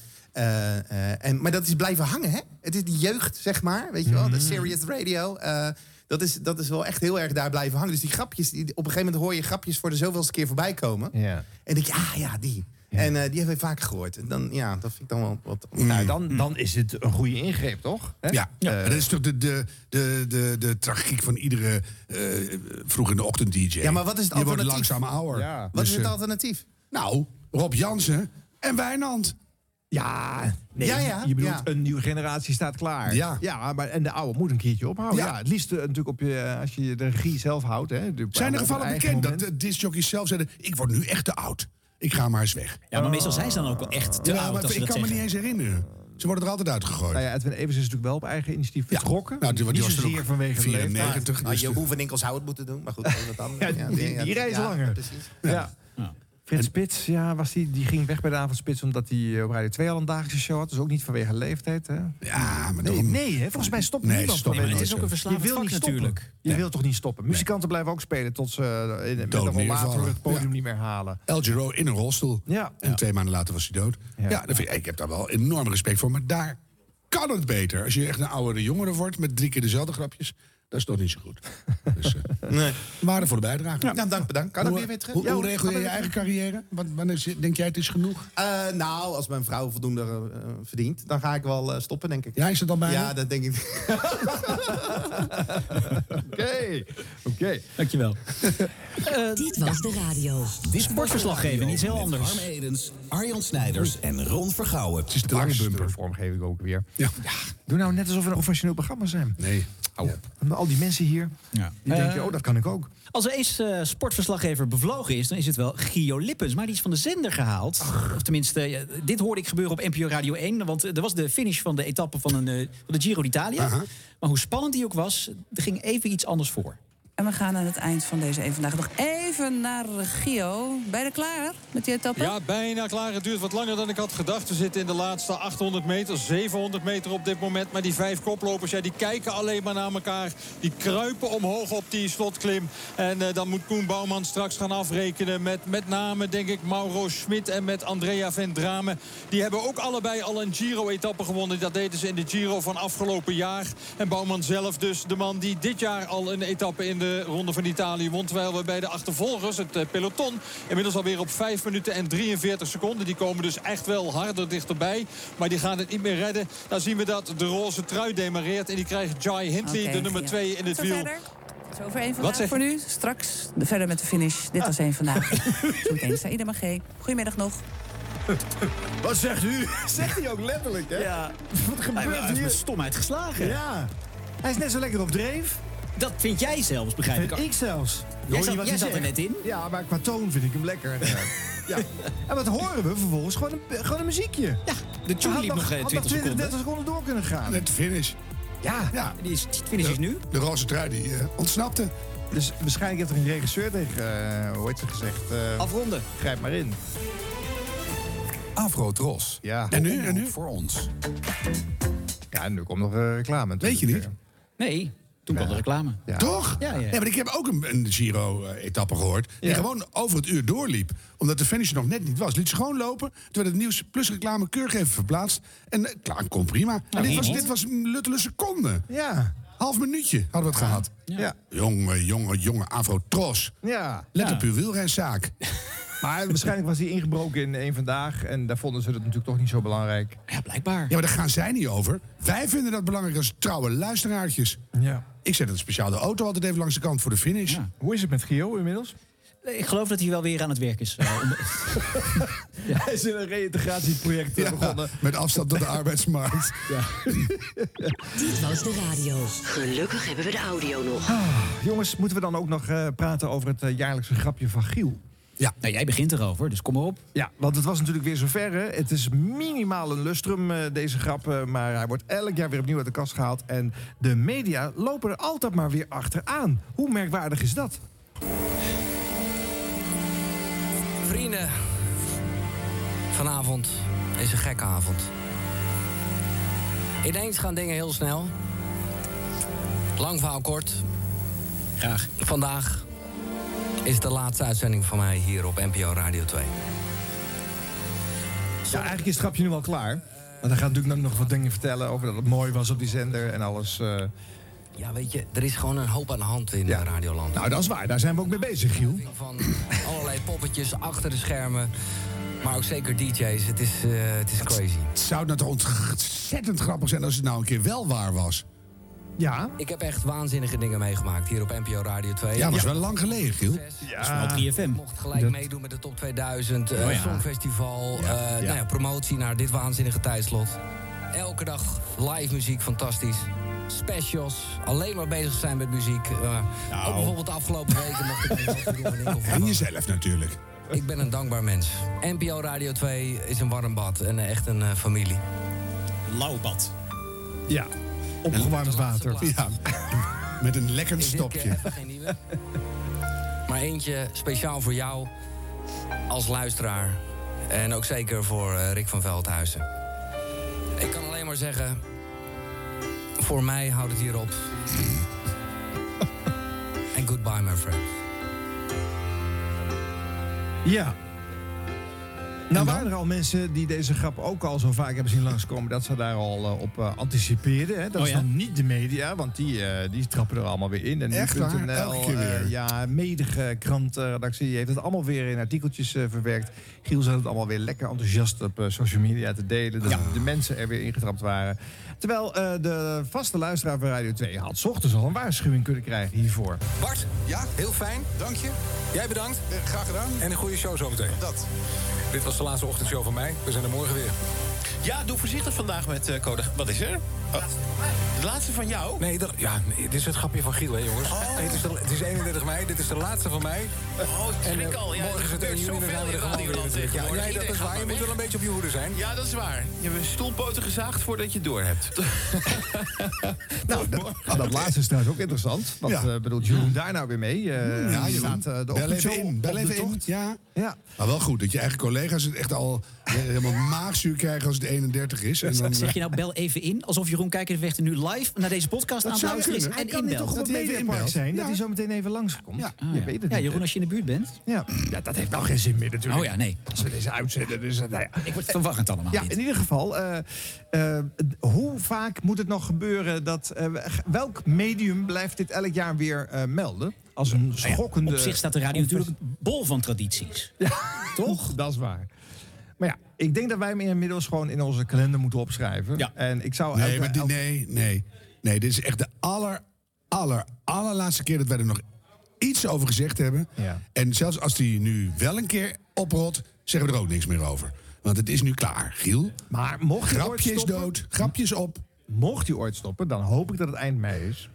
[SPEAKER 15] eh, en, maar dat is blijven hangen, hè? Het is die jeugd, zeg maar. Weet je wel,
[SPEAKER 1] Mhm.
[SPEAKER 15] de serious radio. eh, dat, is, dat is wel echt heel erg daar blijven hangen. Dus die grapjes, die, op een gegeven moment hoor je grapjes voor de zoveelste keer voorbij komen.
[SPEAKER 1] Ja.
[SPEAKER 15] En denk je, ah ja, die. En eh, die hebben we vaker gehoord. En dan, ja, dat vind ik dan wel wat... Mm.
[SPEAKER 1] Nou, dan, dan is het een goede ingreep, toch? Hè?
[SPEAKER 3] Ja,
[SPEAKER 15] Eh,
[SPEAKER 3] maar dat is toch de, de, de, de, de tragiek van iedere eh, vroeg in de ochtend DJ.
[SPEAKER 15] Ja, maar wat is het
[SPEAKER 3] Je wordt
[SPEAKER 15] alternatief?
[SPEAKER 3] langzaam ouder. Dus, eh,
[SPEAKER 15] Ja. Wat is het alternatief?
[SPEAKER 3] Nou, Rob Jansen en Wijnand.
[SPEAKER 1] Ja, nee,
[SPEAKER 15] Ja, ja,
[SPEAKER 1] je bedoelt
[SPEAKER 15] ja.
[SPEAKER 1] een nieuwe generatie staat klaar.
[SPEAKER 3] Ja.
[SPEAKER 1] maar, en de oude moet een keertje ophouden. Ja,
[SPEAKER 3] Ja.
[SPEAKER 1] het liefst eh, natuurlijk op je, als je de regie zelf houdt. Hè, De-
[SPEAKER 3] Zijn er
[SPEAKER 1] op
[SPEAKER 3] gevallen
[SPEAKER 1] het eigen
[SPEAKER 3] bekend dat
[SPEAKER 1] moment.
[SPEAKER 3] de discjockeys zelf zeiden... ik word nu echt te oud. Ik ga maar eens weg.
[SPEAKER 2] Ja, maar meestal zijn ze dan ook wel echt te
[SPEAKER 3] Ja,
[SPEAKER 2] oud
[SPEAKER 3] maar
[SPEAKER 2] als
[SPEAKER 3] ik
[SPEAKER 2] ze
[SPEAKER 3] kan
[SPEAKER 2] dat
[SPEAKER 3] me
[SPEAKER 2] zeggen.
[SPEAKER 3] niet eens herinneren. Ze worden er altijd uitgegooid.
[SPEAKER 1] Nou ja, Edwin Evers is natuurlijk wel op eigen initiatief vertrokken.
[SPEAKER 3] Nou, die- die
[SPEAKER 1] Niet
[SPEAKER 3] was er ook
[SPEAKER 1] zozeer vanwege de leeftijd.
[SPEAKER 3] 94.
[SPEAKER 15] Nou,
[SPEAKER 3] dus de-
[SPEAKER 15] je hoeft en Nikkels zou het moeten doen, maar goed, dat is wat
[SPEAKER 1] Ja,
[SPEAKER 15] anders.
[SPEAKER 1] die, die, reis
[SPEAKER 15] ja,
[SPEAKER 1] langer.
[SPEAKER 15] Precies.
[SPEAKER 1] Ja. Frits Spits, ja, was die, die ging weg bij de avondspits... omdat hij eh, op Radio 2 al een dagelijkse show had. Dus ook niet vanwege leeftijd, hè?
[SPEAKER 3] Ja, maar
[SPEAKER 1] Nee,
[SPEAKER 3] daarom-
[SPEAKER 1] nee hè? volgens mij stopt
[SPEAKER 3] Nee,
[SPEAKER 1] niemand.
[SPEAKER 3] stopt
[SPEAKER 1] vanwege-
[SPEAKER 3] nooit, hè.
[SPEAKER 1] Je wil niet stoppen. Je wilt toch niet stoppen? Muzikanten blijven ook spelen tot ze eh, in- met
[SPEAKER 3] Dood
[SPEAKER 1] een rollator
[SPEAKER 3] neervallen.
[SPEAKER 1] het podium
[SPEAKER 3] Ja.
[SPEAKER 1] niet meer halen.
[SPEAKER 3] El Giro in een rolstoel.
[SPEAKER 1] Ja.
[SPEAKER 3] En twee maanden later was hij dood. Ja, dat vind ik, ik heb daar wel enorm respect voor. Maar daar kan het beter. Als je echt een oudere jongere wordt met drie keer dezelfde grapjes... dat is toch niet zo goed. Dus, eh
[SPEAKER 15] nee.
[SPEAKER 3] Waardevolle bijdrage.
[SPEAKER 15] Nou, dank, bedankt. Kan
[SPEAKER 3] hoe,
[SPEAKER 15] dat weer weer terug?
[SPEAKER 3] Hoe,
[SPEAKER 15] Ja,
[SPEAKER 3] hoe
[SPEAKER 15] hoor,
[SPEAKER 3] regel
[SPEAKER 15] kan
[SPEAKER 3] je
[SPEAKER 15] dat
[SPEAKER 3] je
[SPEAKER 15] weer
[SPEAKER 3] eigen carrière? Want Wanneer zi- denk jij het is genoeg?
[SPEAKER 15] Eh, nou, als mijn vrouw voldoende eh, verdient, dan ga ik wel eh, stoppen, denk ik.
[SPEAKER 3] Ja, is dat dan bijna?
[SPEAKER 15] Ja, dat denk ik.
[SPEAKER 1] Oké, oké.
[SPEAKER 2] Dankjewel.
[SPEAKER 16] Dit was de radio.
[SPEAKER 2] Sportverslaggever, iets heel anders.
[SPEAKER 16] Arm Edens, Arjan Snijders en Ron Vergouwen.
[SPEAKER 3] Het is
[SPEAKER 1] de lange bumper. vormgeving ook weer.
[SPEAKER 3] Ja.
[SPEAKER 1] Doe nou net alsof we een professioneel programma zijn.
[SPEAKER 3] Nee.
[SPEAKER 1] Hou op. En Al die mensen hier, die
[SPEAKER 2] Oh. Eh,
[SPEAKER 1] denken, oh, dat kan ik ook.
[SPEAKER 2] Als er eens eh, sportverslaggever bevlogen is, dan is het wel Gio Lippens. Maar die is van de zender gehaald. Of tenminste, ja, dit hoorde ik gebeuren op NPO Radio 1. Want eh, er was de finish van de etappe van, een, eh, van de Giro d'Italia. Maar hoe spannend die ook was, er ging even iets anders voor.
[SPEAKER 17] En we gaan aan het eind van deze Eén Vandaag nog even naar Gio. Bijna klaar met die etappe?
[SPEAKER 18] Ja, bijna klaar. Het duurt wat langer dan ik had gedacht. We zitten in de laatste 800 meter, 700 meter op dit moment. Maar die vijf koplopers, ja, die kijken alleen maar naar elkaar. Die kruipen omhoog op die slotklim. En eh, dan moet Koen Bouwman straks gaan afrekenen met met name, denk ik, Mauro Schmid en met Andrea Vendrame. Die hebben ook allebei al een Giro-etappe gewonnen. Dat deden ze in de Giro van afgelopen jaar. En Bouwman zelf dus de man die dit jaar al een etappe in de de Ronde van Italië won. Terwijl we bij de achtervolgers, het eh, peloton, inmiddels alweer op 5 minuten en 43 seconden. Die komen dus echt wel harder dichterbij. Maar die gaan het niet meer redden. Dan zien we dat de roze trui demareert. En die krijgt Jai Hindley,
[SPEAKER 17] Oké,
[SPEAKER 18] de nummer
[SPEAKER 17] ja.
[SPEAKER 18] 2 in het
[SPEAKER 17] Tot
[SPEAKER 18] wiel.
[SPEAKER 17] verder. Zover één
[SPEAKER 18] Wat
[SPEAKER 17] vandaag
[SPEAKER 18] zeg
[SPEAKER 17] voor
[SPEAKER 18] je?
[SPEAKER 17] nu. Straks verder met de finish. Dit was één vandaag. Zometeen Saïda Magé. Goedemiddag nog.
[SPEAKER 1] Wat zegt u? Zegt hij ook letterlijk, hè?
[SPEAKER 2] Ja.
[SPEAKER 1] Wat
[SPEAKER 2] Hij
[SPEAKER 1] gebeurt
[SPEAKER 2] heeft
[SPEAKER 1] hier?
[SPEAKER 2] met stomheid geslagen.
[SPEAKER 1] Ja. Hij is net zo lekker op dreef.
[SPEAKER 2] Dat vind jij zelfs, begrijp ik.
[SPEAKER 1] Vind ik zelfs.
[SPEAKER 2] Jij zat- jij zat er net in.
[SPEAKER 1] Ja, maar qua toon vind ik hem lekker. ja. En wat horen we vervolgens? Gewoon een, gewoon een muziekje. Ja,
[SPEAKER 2] de tune liep nog, eh, 20 seconden.
[SPEAKER 1] 30 seconden door kunnen gaan.
[SPEAKER 3] Net finish.
[SPEAKER 1] Ja.
[SPEAKER 3] ja.
[SPEAKER 2] Die is, finish
[SPEAKER 3] is nu. De roze trui die eh, ontsnapte.
[SPEAKER 1] Dus waarschijnlijk heeft er een regisseur tegen, eh, hoe heet ze gezegd? eh,
[SPEAKER 2] Afronden.
[SPEAKER 1] Grijp maar in.
[SPEAKER 3] Afro Tros.
[SPEAKER 1] Ja.
[SPEAKER 3] En nu? En nu?
[SPEAKER 1] Voor ons. Ja, en nu komt nog eh, reclame.
[SPEAKER 3] Weet je niet?
[SPEAKER 2] Nee, toen kwam de reclame.
[SPEAKER 3] Toch?
[SPEAKER 2] Ja, ja.
[SPEAKER 3] Nee, maar ik heb ook een, een Giro-etappe gehoord. Die gewoon over het uur doorliep. Omdat de finish er nog net niet was. Liet ze gewoon lopen. Toen werd het nieuws plus reclame keurig even verplaatst. En eh, klaar, kon prima.
[SPEAKER 1] Nou,
[SPEAKER 3] en dit was,
[SPEAKER 1] niemand.
[SPEAKER 3] dit was een luttele seconde.
[SPEAKER 1] Ja.
[SPEAKER 3] Half minuutje hadden we het gehad.
[SPEAKER 1] Ja.
[SPEAKER 3] Jonge, jonge, jonge Afrotros.
[SPEAKER 1] Ja.
[SPEAKER 3] Let
[SPEAKER 1] Ja.
[SPEAKER 3] op uw wielrijzaak.
[SPEAKER 1] Maar waarschijnlijk was hij ingebroken in één vandaag. En daar vonden ze het natuurlijk toch niet zo belangrijk.
[SPEAKER 2] Ja, blijkbaar.
[SPEAKER 3] Ja, maar daar gaan zij niet over. Wij vinden dat belangrijk als trouwe luisteraartjes.
[SPEAKER 1] Ja.
[SPEAKER 3] Ik zet een speciaal de auto altijd even langs de kant voor de finish.
[SPEAKER 1] Hoe is het met Gio inmiddels?
[SPEAKER 2] Ik geloof dat hij wel weer aan het werk is. eh, om-
[SPEAKER 1] Hij is in een reïntegratieproject eh, begonnen.
[SPEAKER 3] Met afstand tot de arbeidsmarkt.
[SPEAKER 16] Dit was de radio. Ah. Gelukkig hebben we de audio nog.
[SPEAKER 1] Jongens, moeten we dan ook nog eh, praten over het eh, jaarlijkse grapje van Giel?
[SPEAKER 3] Ja.
[SPEAKER 2] Nou, jij begint erover, dus kom maar op.
[SPEAKER 1] Ja, want het was natuurlijk weer zover. Hè? Het is minimaal een lustrum, eh, deze grap. eh, maar hij wordt elk jaar weer opnieuw uit de kast gehaald. En de media lopen er altijd maar weer achteraan. Hoe merkwaardig is dat?
[SPEAKER 19] Vrienden, vanavond is een gekke avond. Ineens gaan dingen heel snel. Lang verhaal kort. Graag. Vandaag is de laatste uitzending van mij hier op NPO Radio 2.
[SPEAKER 1] Ja, eigenlijk is het grapje nu al klaar. Want hij gaat natuurlijk nog wat dingen vertellen over dat het mooi was op die zender en alles. eh.
[SPEAKER 19] Ja, weet je, er is gewoon een hoop aan de hand in eh, Radioland.
[SPEAKER 1] Nou, dat is waar. Daar zijn we ook mee bezig, Giel.
[SPEAKER 19] Van allerlei poppetjes achter de schermen. Maar ook zeker DJ's. Het is, eh, het is crazy.
[SPEAKER 3] Het zou nou toch ontzettend grappig zijn als het nou een keer wel waar was.
[SPEAKER 1] Ja.
[SPEAKER 19] Ik heb echt waanzinnige dingen meegemaakt hier op NPO Radio 2.
[SPEAKER 3] Ja, dat is wel lang geleden, Giel.
[SPEAKER 19] Dat is wel 3FM. Mocht gelijk
[SPEAKER 3] Dat-
[SPEAKER 19] meedoen met de top 2000, eh
[SPEAKER 3] Oh ja.
[SPEAKER 19] Songfestival, eh, Nou ja, promotie naar dit waanzinnige tijdslot. Elke dag live muziek, fantastisch. Specials, alleen maar bezig zijn met muziek. Eh, Ook bijvoorbeeld de afgelopen weken mocht ik een grote doen in Winkel van
[SPEAKER 3] En jezelf natuurlijk.
[SPEAKER 19] ik ben een dankbaar mens. NPO Radio 2 is een warm bad en echt een eh, familie. Lauw bad.
[SPEAKER 1] Ja, opgewarmd water.
[SPEAKER 3] Ja, met een lekker
[SPEAKER 19] Is dit keer
[SPEAKER 3] stopje.
[SPEAKER 19] eh, even geen nieuwe? maar eentje speciaal voor jou als luisteraar. En ook zeker voor eh, Rick van Veldhuizen. Ik kan alleen maar zeggen... Voor mij houdt het hier op. En goodbye, my friend.
[SPEAKER 1] Ja. Nou waren er al mensen die deze grap ook al zo vaak hebben zien langskomen... dat ze daar al eh, op eh, anticipeerden. Hè? Dat
[SPEAKER 2] Oh
[SPEAKER 1] is
[SPEAKER 2] ja?
[SPEAKER 1] dan niet de media, want die, eh, die trappen er allemaal weer in. En
[SPEAKER 3] Echt
[SPEAKER 1] nu.nl,
[SPEAKER 3] waar? Elke keer
[SPEAKER 1] eh,
[SPEAKER 3] weer.
[SPEAKER 1] ja, medige krantenredactie heeft het allemaal weer in artikeltjes eh, verwerkt. Giel zat het allemaal weer lekker enthousiast op eh, social media te delen. Dat de mensen er weer ingetrapt waren. Terwijl eh, de vaste luisteraar van Radio 2 had 's ochtends al een waarschuwing kunnen krijgen hiervoor.
[SPEAKER 20] Bart, ja, heel fijn. Dank je. Jij bedankt. graag gedaan. En een goede show zometeen. Dat. Dit was de laatste ochtendshow van mij. We zijn er morgen weer.
[SPEAKER 21] Ja, doe voorzichtig vandaag met eh code. Wat is er? Oh. De laatste van jou?
[SPEAKER 20] Nee, dat, ja, nee, dit is het grapje van Giel, hè, jongens. Nee, het, is de- het is 31 mei, dit is de laatste van mij.
[SPEAKER 21] Oh, ik
[SPEAKER 20] En, eh,
[SPEAKER 21] schrik al. Ja,
[SPEAKER 20] morgen
[SPEAKER 21] er
[SPEAKER 20] is het 1
[SPEAKER 21] gebeurt
[SPEAKER 20] juni, dan
[SPEAKER 21] zoveel
[SPEAKER 20] zijn we er
[SPEAKER 21] in
[SPEAKER 20] gewoon weer
[SPEAKER 21] Radioland
[SPEAKER 20] natuurlijk. Ja,
[SPEAKER 21] tegenwoordig.
[SPEAKER 20] nee, dat is
[SPEAKER 21] Iedereen
[SPEAKER 20] waar.
[SPEAKER 21] gaat
[SPEAKER 20] Je
[SPEAKER 21] maar
[SPEAKER 20] moet wel een beetje op je hoede zijn.
[SPEAKER 21] Ja, dat is waar. Je hebt stoelpoten gezaagd voordat je het door hebt.
[SPEAKER 1] Nou, dat, dat laatste is trouwens ook interessant. Wat eh, bedoelt Jeroen daar nou weer mee? Eh,
[SPEAKER 3] Ja,
[SPEAKER 1] die
[SPEAKER 3] Jeroen.
[SPEAKER 1] eh, de
[SPEAKER 3] Bel even
[SPEAKER 1] ochtendshow
[SPEAKER 3] in. Bel
[SPEAKER 1] op de
[SPEAKER 3] even in.
[SPEAKER 1] tocht.
[SPEAKER 3] Ja.
[SPEAKER 1] Ja.
[SPEAKER 3] Maar wel goed dat je eigen
[SPEAKER 2] Dus
[SPEAKER 3] collega's het echt al eh, helemaal maagzuur krijgen als het 31 is. En dan,
[SPEAKER 2] zeg je nou bel even in, alsof je Jeroen Kijkervechter nu live naar deze podcast aan het luisteren is en
[SPEAKER 1] kan niet
[SPEAKER 2] inbelt.
[SPEAKER 1] toch op het mediapark zijn? Dat hij zo meteen even langskomt. Ja,
[SPEAKER 2] Ah, ja. ja, Jeroen, als je in de buurt bent.
[SPEAKER 1] Ja. dat heeft nou geen zin meer natuurlijk.
[SPEAKER 2] Oh ja, nee.
[SPEAKER 1] Als we deze uitzenden, dus...
[SPEAKER 11] eh,
[SPEAKER 1] Nou ja.
[SPEAKER 2] Ik word verwarrend allemaal.
[SPEAKER 1] Ja, in ieder geval, eh, eh, hoe vaak moet het nog gebeuren dat... eh, welk medium blijft dit elk jaar weer eh, melden? Als een
[SPEAKER 2] Nou ja,
[SPEAKER 1] schokkende...
[SPEAKER 2] Op zich staat de radio natuurlijk bol van tradities.
[SPEAKER 1] Toch? Dat is waar. Maar ja, ik denk dat wij hem inmiddels gewoon in onze kalender moeten opschrijven. En ik zou
[SPEAKER 3] Nee,
[SPEAKER 1] nou elke-
[SPEAKER 3] maar die,
[SPEAKER 1] elke-
[SPEAKER 3] nee, nee. Nee, dit is echt de aller, aller, allerlaatste keer dat wij er nog iets over gezegd hebben.
[SPEAKER 1] Ja.
[SPEAKER 3] En zelfs als die nu wel een keer oprot, zeggen we er ook niks meer over. Want het is nu klaar, Giel.
[SPEAKER 1] Maar mocht je ooit
[SPEAKER 3] Grapje is
[SPEAKER 1] stoppen,
[SPEAKER 3] dood, grapjes op.
[SPEAKER 1] Mocht hij ooit stoppen, dan hoop ik dat het eind mei is.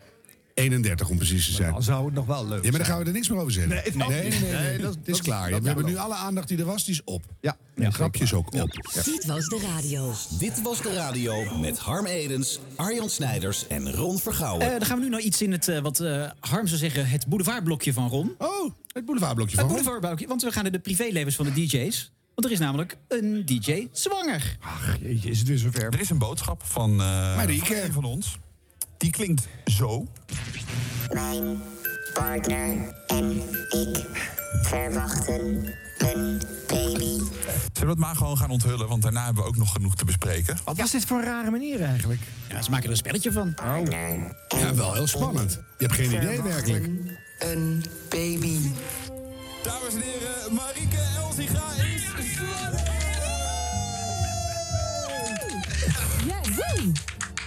[SPEAKER 3] 31 om precies te zijn.
[SPEAKER 1] Dan zou het nog wel leuk
[SPEAKER 3] Ja, maar dan
[SPEAKER 1] zijn.
[SPEAKER 3] gaan we er niks meer over zeggen.
[SPEAKER 1] Nee, het mag
[SPEAKER 3] nee, nee,
[SPEAKER 1] niet.
[SPEAKER 3] nee,
[SPEAKER 1] Nee, dat-
[SPEAKER 3] het
[SPEAKER 1] dat-
[SPEAKER 3] is klaar.
[SPEAKER 1] dat
[SPEAKER 3] we hebben
[SPEAKER 1] kan
[SPEAKER 3] nu
[SPEAKER 1] wel.
[SPEAKER 3] alle aandacht die er was, die is op.
[SPEAKER 1] Ja.
[SPEAKER 3] En grapjes ook op.
[SPEAKER 22] Dit was de radio.
[SPEAKER 11] Dit was de radio met Harm Edens, Arjan Snijders en Ron Vergouwen.
[SPEAKER 2] Eh, dan gaan we nu naar iets in het, eh, wat eh, Harm zou zeggen, het boulevardblokje van Ron.
[SPEAKER 3] Oh, het boulevardblokje
[SPEAKER 2] van Ron. Het boulevardblokje, want we gaan naar de privélevens van de DJ's. Want er is namelijk een DJ zwanger.
[SPEAKER 1] Ach, jeetje, is het weer zover.
[SPEAKER 23] Er is een boodschap van, eh, van een van ons. Die klinkt zo.
[SPEAKER 7] Mijn partner en ik verwachten een baby.
[SPEAKER 23] Zullen we het maar gewoon gaan onthullen, want daarna hebben we ook nog genoeg te bespreken.
[SPEAKER 1] Wat was dit voor een rare manier eigenlijk?
[SPEAKER 2] Ja, ze maken er een spelletje van.
[SPEAKER 7] Oh,
[SPEAKER 3] Ja, wel heel spannend. Je hebt geen idee werkelijk.
[SPEAKER 22] Een baby.
[SPEAKER 23] Dames en heren, Marieke Elsiga is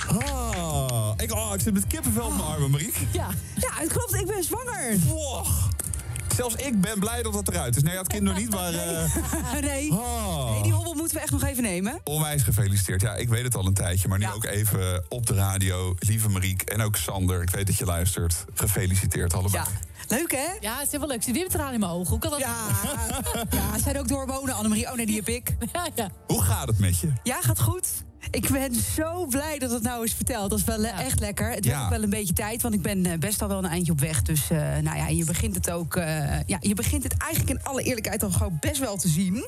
[SPEAKER 23] Ah, ik, oh, ik zit met kippenvel in mijn armen, Marieke.
[SPEAKER 17] Ah. Ja. ja, het klopt, ik ben zwanger.
[SPEAKER 23] Zelfs ik ben blij dat dat eruit is. Nee, ja, het kind nog niet, maar... eh,
[SPEAKER 17] nee.
[SPEAKER 23] Oh.
[SPEAKER 17] nee, die hobbel moeten we echt nog even nemen.
[SPEAKER 23] Onwijs gefeliciteerd. Ja, ik weet het al een tijdje, maar nu ook even op de radio. Lieve Mariek en ook Sander, ik weet dat je luistert. Gefeliciteerd allebei.
[SPEAKER 17] Leuk, hè?
[SPEAKER 24] Ja, het is heel wel leuk. Zit weer met tranen in mijn ogen. Hoe kan dat?
[SPEAKER 17] Ja, ja zijn ook doorwonen, Annemarie. Oh nee, die heb ik.
[SPEAKER 24] Ja, ja.
[SPEAKER 23] Hoe gaat het met je?
[SPEAKER 17] Ja, gaat goed. Ik ben zo blij dat het nou is verteld. Dat is wel eh, echt lekker. Het
[SPEAKER 23] Ja.
[SPEAKER 17] heeft ook wel een beetje tijd, want ik ben eh, best al wel een eindje op weg. Dus eh, nou ja, je begint het ook. eh, ja, je begint het eigenlijk in alle eerlijkheid al gewoon best wel te zien.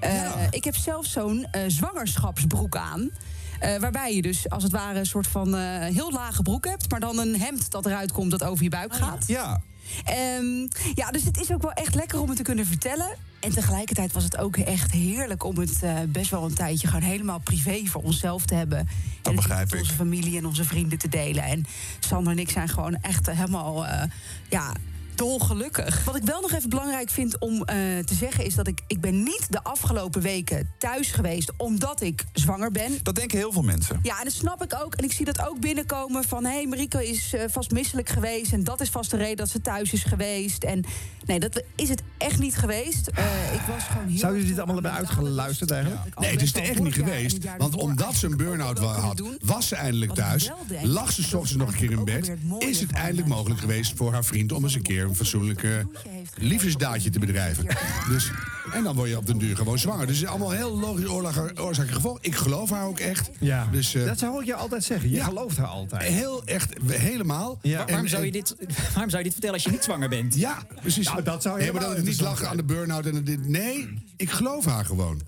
[SPEAKER 17] Eh, Ik heb zelf zo'n eh, zwangerschapsbroek aan. eh, waarbij je dus als het ware een soort van eh, heel lage broek hebt, maar dan een hemd dat eruit komt dat over je buik gaat.
[SPEAKER 23] Oh Ja.
[SPEAKER 17] Ehm, ja, dus het is ook wel echt lekker om het te kunnen vertellen. En tegelijkertijd was het ook echt heerlijk om het eh, best wel een tijdje gewoon helemaal privé voor onszelf te hebben. en het
[SPEAKER 23] begrijp
[SPEAKER 17] met onze familie en onze vrienden te delen. En Sander en ik zijn gewoon echt eh, helemaal, eh, ja. Dolgelukkig. Wat ik wel nog even belangrijk vind om eh, te zeggen is dat ik, ik ben niet de afgelopen weken thuis geweest omdat ik zwanger ben.
[SPEAKER 23] Dat denken heel veel mensen.
[SPEAKER 17] Ja, en dat snap ik ook. En ik zie dat ook binnenkomen van... hé, hey, Mariko is eh, vast misselijk geweest... en dat is vast de reden dat ze thuis is geweest. En nee, dat is het echt niet geweest. Eh, ik was gewoon heel...
[SPEAKER 1] Zouden jullie dit allemaal hebben uitgeluisterd eigenlijk?
[SPEAKER 3] Nee, het is er echt niet geweest. Want omdat ze een burn-out wa- had, was ze eindelijk thuis. Lag ze 's ochtends nog een keer in bed. Is het eindelijk mogelijk geweest voor haar vriend om eens een keer een fatsoenlijke liefdesdaadje te bedrijven. Dus, en dan word je op den duur gewoon zwanger. Dus het is allemaal heel logisch oorlog- oorzaak en gevolg. Ik geloof haar ook echt.
[SPEAKER 1] Ja.
[SPEAKER 3] Dus, eh,
[SPEAKER 1] dat zou ik je altijd zeggen. Je gelooft haar altijd.
[SPEAKER 3] Heel echt, helemaal.
[SPEAKER 2] Waar- waarom, zou je dit, waarom zou je dit vertellen als je niet zwanger bent?
[SPEAKER 3] Ja, precies.
[SPEAKER 2] Nou, dat zou
[SPEAKER 3] nee, maar
[SPEAKER 2] helemaal
[SPEAKER 3] dat het niet
[SPEAKER 2] interessant
[SPEAKER 3] lachen aan de burn-out en aan dit. Nee, ik geloof haar gewoon.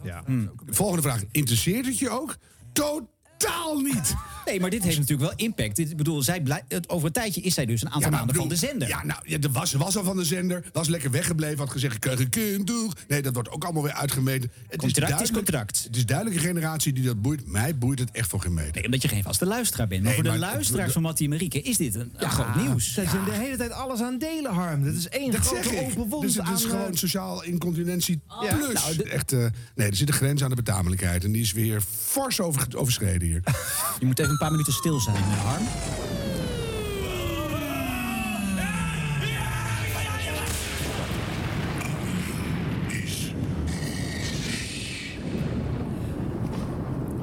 [SPEAKER 3] Volgende vraag. Interesseert het je ook? Totaal niet.
[SPEAKER 2] Nee, maar dit heeft natuurlijk wel impact. Dit, ik bedoel, zij blij- het, over een tijdje is zij dus een aantal
[SPEAKER 3] Ja, maar
[SPEAKER 2] maanden van
[SPEAKER 3] bedoel,
[SPEAKER 2] de zender.
[SPEAKER 3] Ja, nou, ja, de was, was al van de zender. Was lekker weggebleven. Had gezegd, ik krijg een kind, doeg. Nee, dat wordt ook allemaal weer uitgemeten. Het
[SPEAKER 2] Contract is
[SPEAKER 3] duidelijk-
[SPEAKER 2] contract.
[SPEAKER 3] Het is duidelijk een generatie die dat boeit. Mij boeit het echt voor geen meter. Nee,
[SPEAKER 2] omdat je geen vaste luisteraar bent. Maar
[SPEAKER 3] Nee,
[SPEAKER 2] voor de
[SPEAKER 3] maar-
[SPEAKER 2] luisteraars van Mattie en Marieke is dit een, een groot nieuws.
[SPEAKER 1] Zij zijn de hele tijd alles aan delen, Harm. Dat is één
[SPEAKER 3] Ah. Dat
[SPEAKER 1] grote
[SPEAKER 3] zeg ik.
[SPEAKER 1] open wond
[SPEAKER 3] Dus het is
[SPEAKER 1] aan,
[SPEAKER 3] gewoon
[SPEAKER 1] eh,
[SPEAKER 3] sociaal incontinentie
[SPEAKER 2] Oh,
[SPEAKER 1] Ja.
[SPEAKER 3] plus.
[SPEAKER 1] Nou, de-
[SPEAKER 3] Echt, eh, nee, er zit een grens aan de betamelijkheid. En die is weer fors over, overschreden hier.
[SPEAKER 2] Je moet even een paar minuten stil zijn, eh, Harm.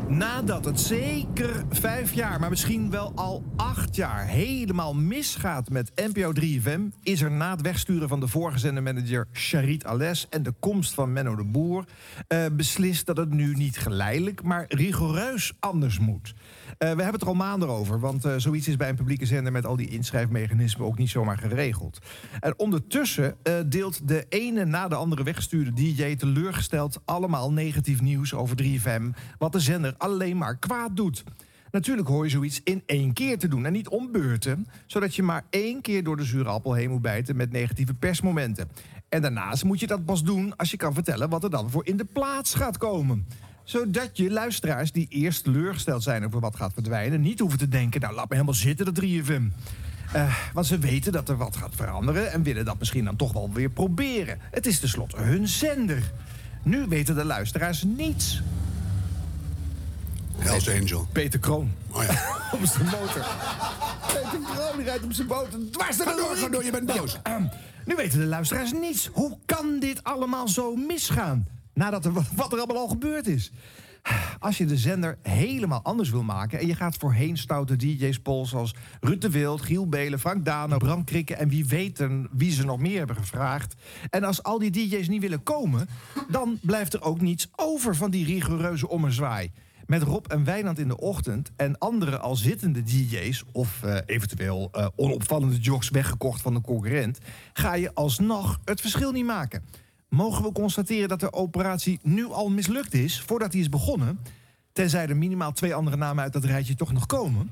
[SPEAKER 1] Nadat het zeker vijf jaar, maar misschien wel al acht jaar helemaal misgaat met NPO 3FM, is er na het wegsturen van de vorige zendermanager Charit Ales en de komst van Menno de Boer eh, beslist dat het nu niet geleidelijk, maar rigoureus anders moet. Eh, we hebben het er al maanden over, want eh, zoiets is bij een publieke zender met al die inschrijfmechanismen ook niet zomaar geregeld. En ondertussen eh, deelt de ene na de andere weggestuurde DJ teleurgesteld allemaal negatief nieuws over 3FM, wat de zender alleen maar kwaad doet. Natuurlijk hoor je zoiets in één keer te doen en niet om beurten, zodat je maar één keer door de zure appel heen moet bijten met negatieve persmomenten. En daarnaast moet je dat pas doen als je kan vertellen wat er dan voor in de plaats gaat komen zodat je luisteraars die eerst teleurgesteld zijn over wat gaat verdwijnen... niet hoeven te denken, nou laat me helemaal zitten, dat 3FM. Eh, want ze weten dat er wat gaat veranderen... en willen dat misschien dan toch wel weer proberen. Het is tenslotte hun zender. Nu weten de luisteraars niets.
[SPEAKER 3] Hells Angel.
[SPEAKER 1] Peter Kroon.
[SPEAKER 3] Oh ja.
[SPEAKER 1] Op zijn motor. Peter Kroon rijdt op zijn boot dwars
[SPEAKER 3] Ga door, ga door, je bent boos.
[SPEAKER 1] ehm, nu weten de luisteraars niets. Hoe kan dit allemaal zo misgaan? Nadat er, wat er allemaal al gebeurd is. Als je de zender helemaal anders wil maken... en je gaat voorheen stoute DJ's polls als Ruud de Wild... Giel Belen, Frank Dano, Bram Krikke... en wie weet en wie ze nog meer hebben gevraagd. En als al die DJ's niet willen komen... dan blijft er ook niets over van die rigoureuze ommezwaai. Met Rob en Wijnand in de ochtend en andere al zittende DJ's... of eh, eventueel eh, onopvallende jocks weggekocht van een concurrent... ga je alsnog het verschil niet maken. Mogen we constateren dat de operatie nu al mislukt is... voordat die is begonnen... tenzij er minimaal twee andere namen uit dat rijtje toch nog komen...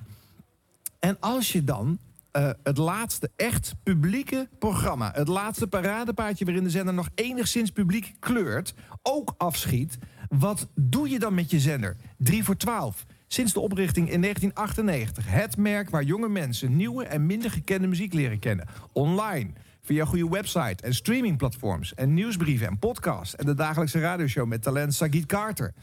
[SPEAKER 1] En als je dan eh, het laatste echt publieke programma... het laatste paradepaardje waarin de zender nog enigszins publiek kleurt... ook afschiet, wat doe je dan met je zender? 3 voor 12. Sinds de oprichting in 1998. Het merk waar jonge mensen nieuwe en minder gekende muziek leren kennen. Online, via een goede website en streamingplatforms... en nieuwsbrieven en podcasts... en de dagelijkse radioshow met talent Sagit Carter.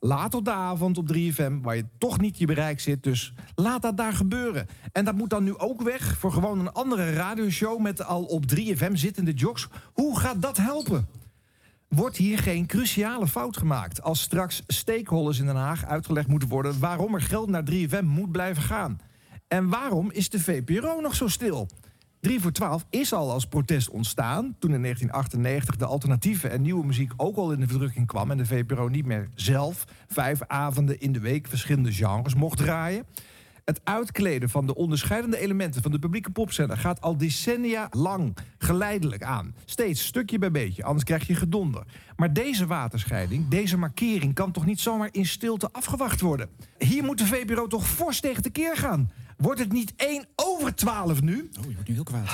[SPEAKER 1] Laat op de avond op 3FM, waar je toch niet je bereik zit. Dus laat dat daar gebeuren. En dat moet dan nu ook weg voor gewoon een andere radioshow... met al op 3FM zittende jocks. Hoe gaat dat helpen? Wordt hier geen cruciale fout gemaakt... als straks stakeholders in Den Haag uitgelegd moeten worden... waarom er geld naar 3FM moet blijven gaan? En waarom is de VPRO nog zo stil? 3 voor 12 is al als protest ontstaan. Toen in 1998 de alternatieve en nieuwe muziek ook al in de verdrukking kwam. En de VPRO niet meer zelf vijf avonden in de week verschillende genres mocht draaien. Het uitkleden van de onderscheidende elementen van de publieke popzender gaat al decennia lang geleidelijk aan. Steeds stukje bij beetje, anders krijg je gedonder. Maar deze waterscheiding, deze markering, kan toch niet zomaar in stilte afgewacht worden? Hier moet de VPRO toch fors tegen de keer gaan? Wordt het niet 1 over 12 nu?
[SPEAKER 2] Oh, je wordt nu heel kwaad.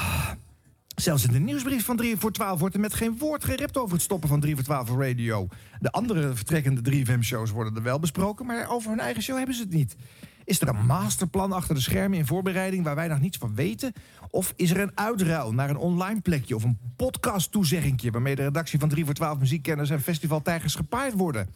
[SPEAKER 1] Zelfs in de nieuwsbrief van 3 voor 12 wordt er met geen woord gerept over het stoppen van 3 voor 12 voor radio. De andere vertrekkende 3FM-shows worden er wel besproken, maar over hun eigen show hebben ze het niet. Is er een masterplan achter de schermen in voorbereiding waar wij nog niets van weten? Of is er een uitruil naar een online plekje of een podcast-toezeggingje waarmee de redactie van 3 voor 12 muziekkenners en festivaltijgers gepaard worden?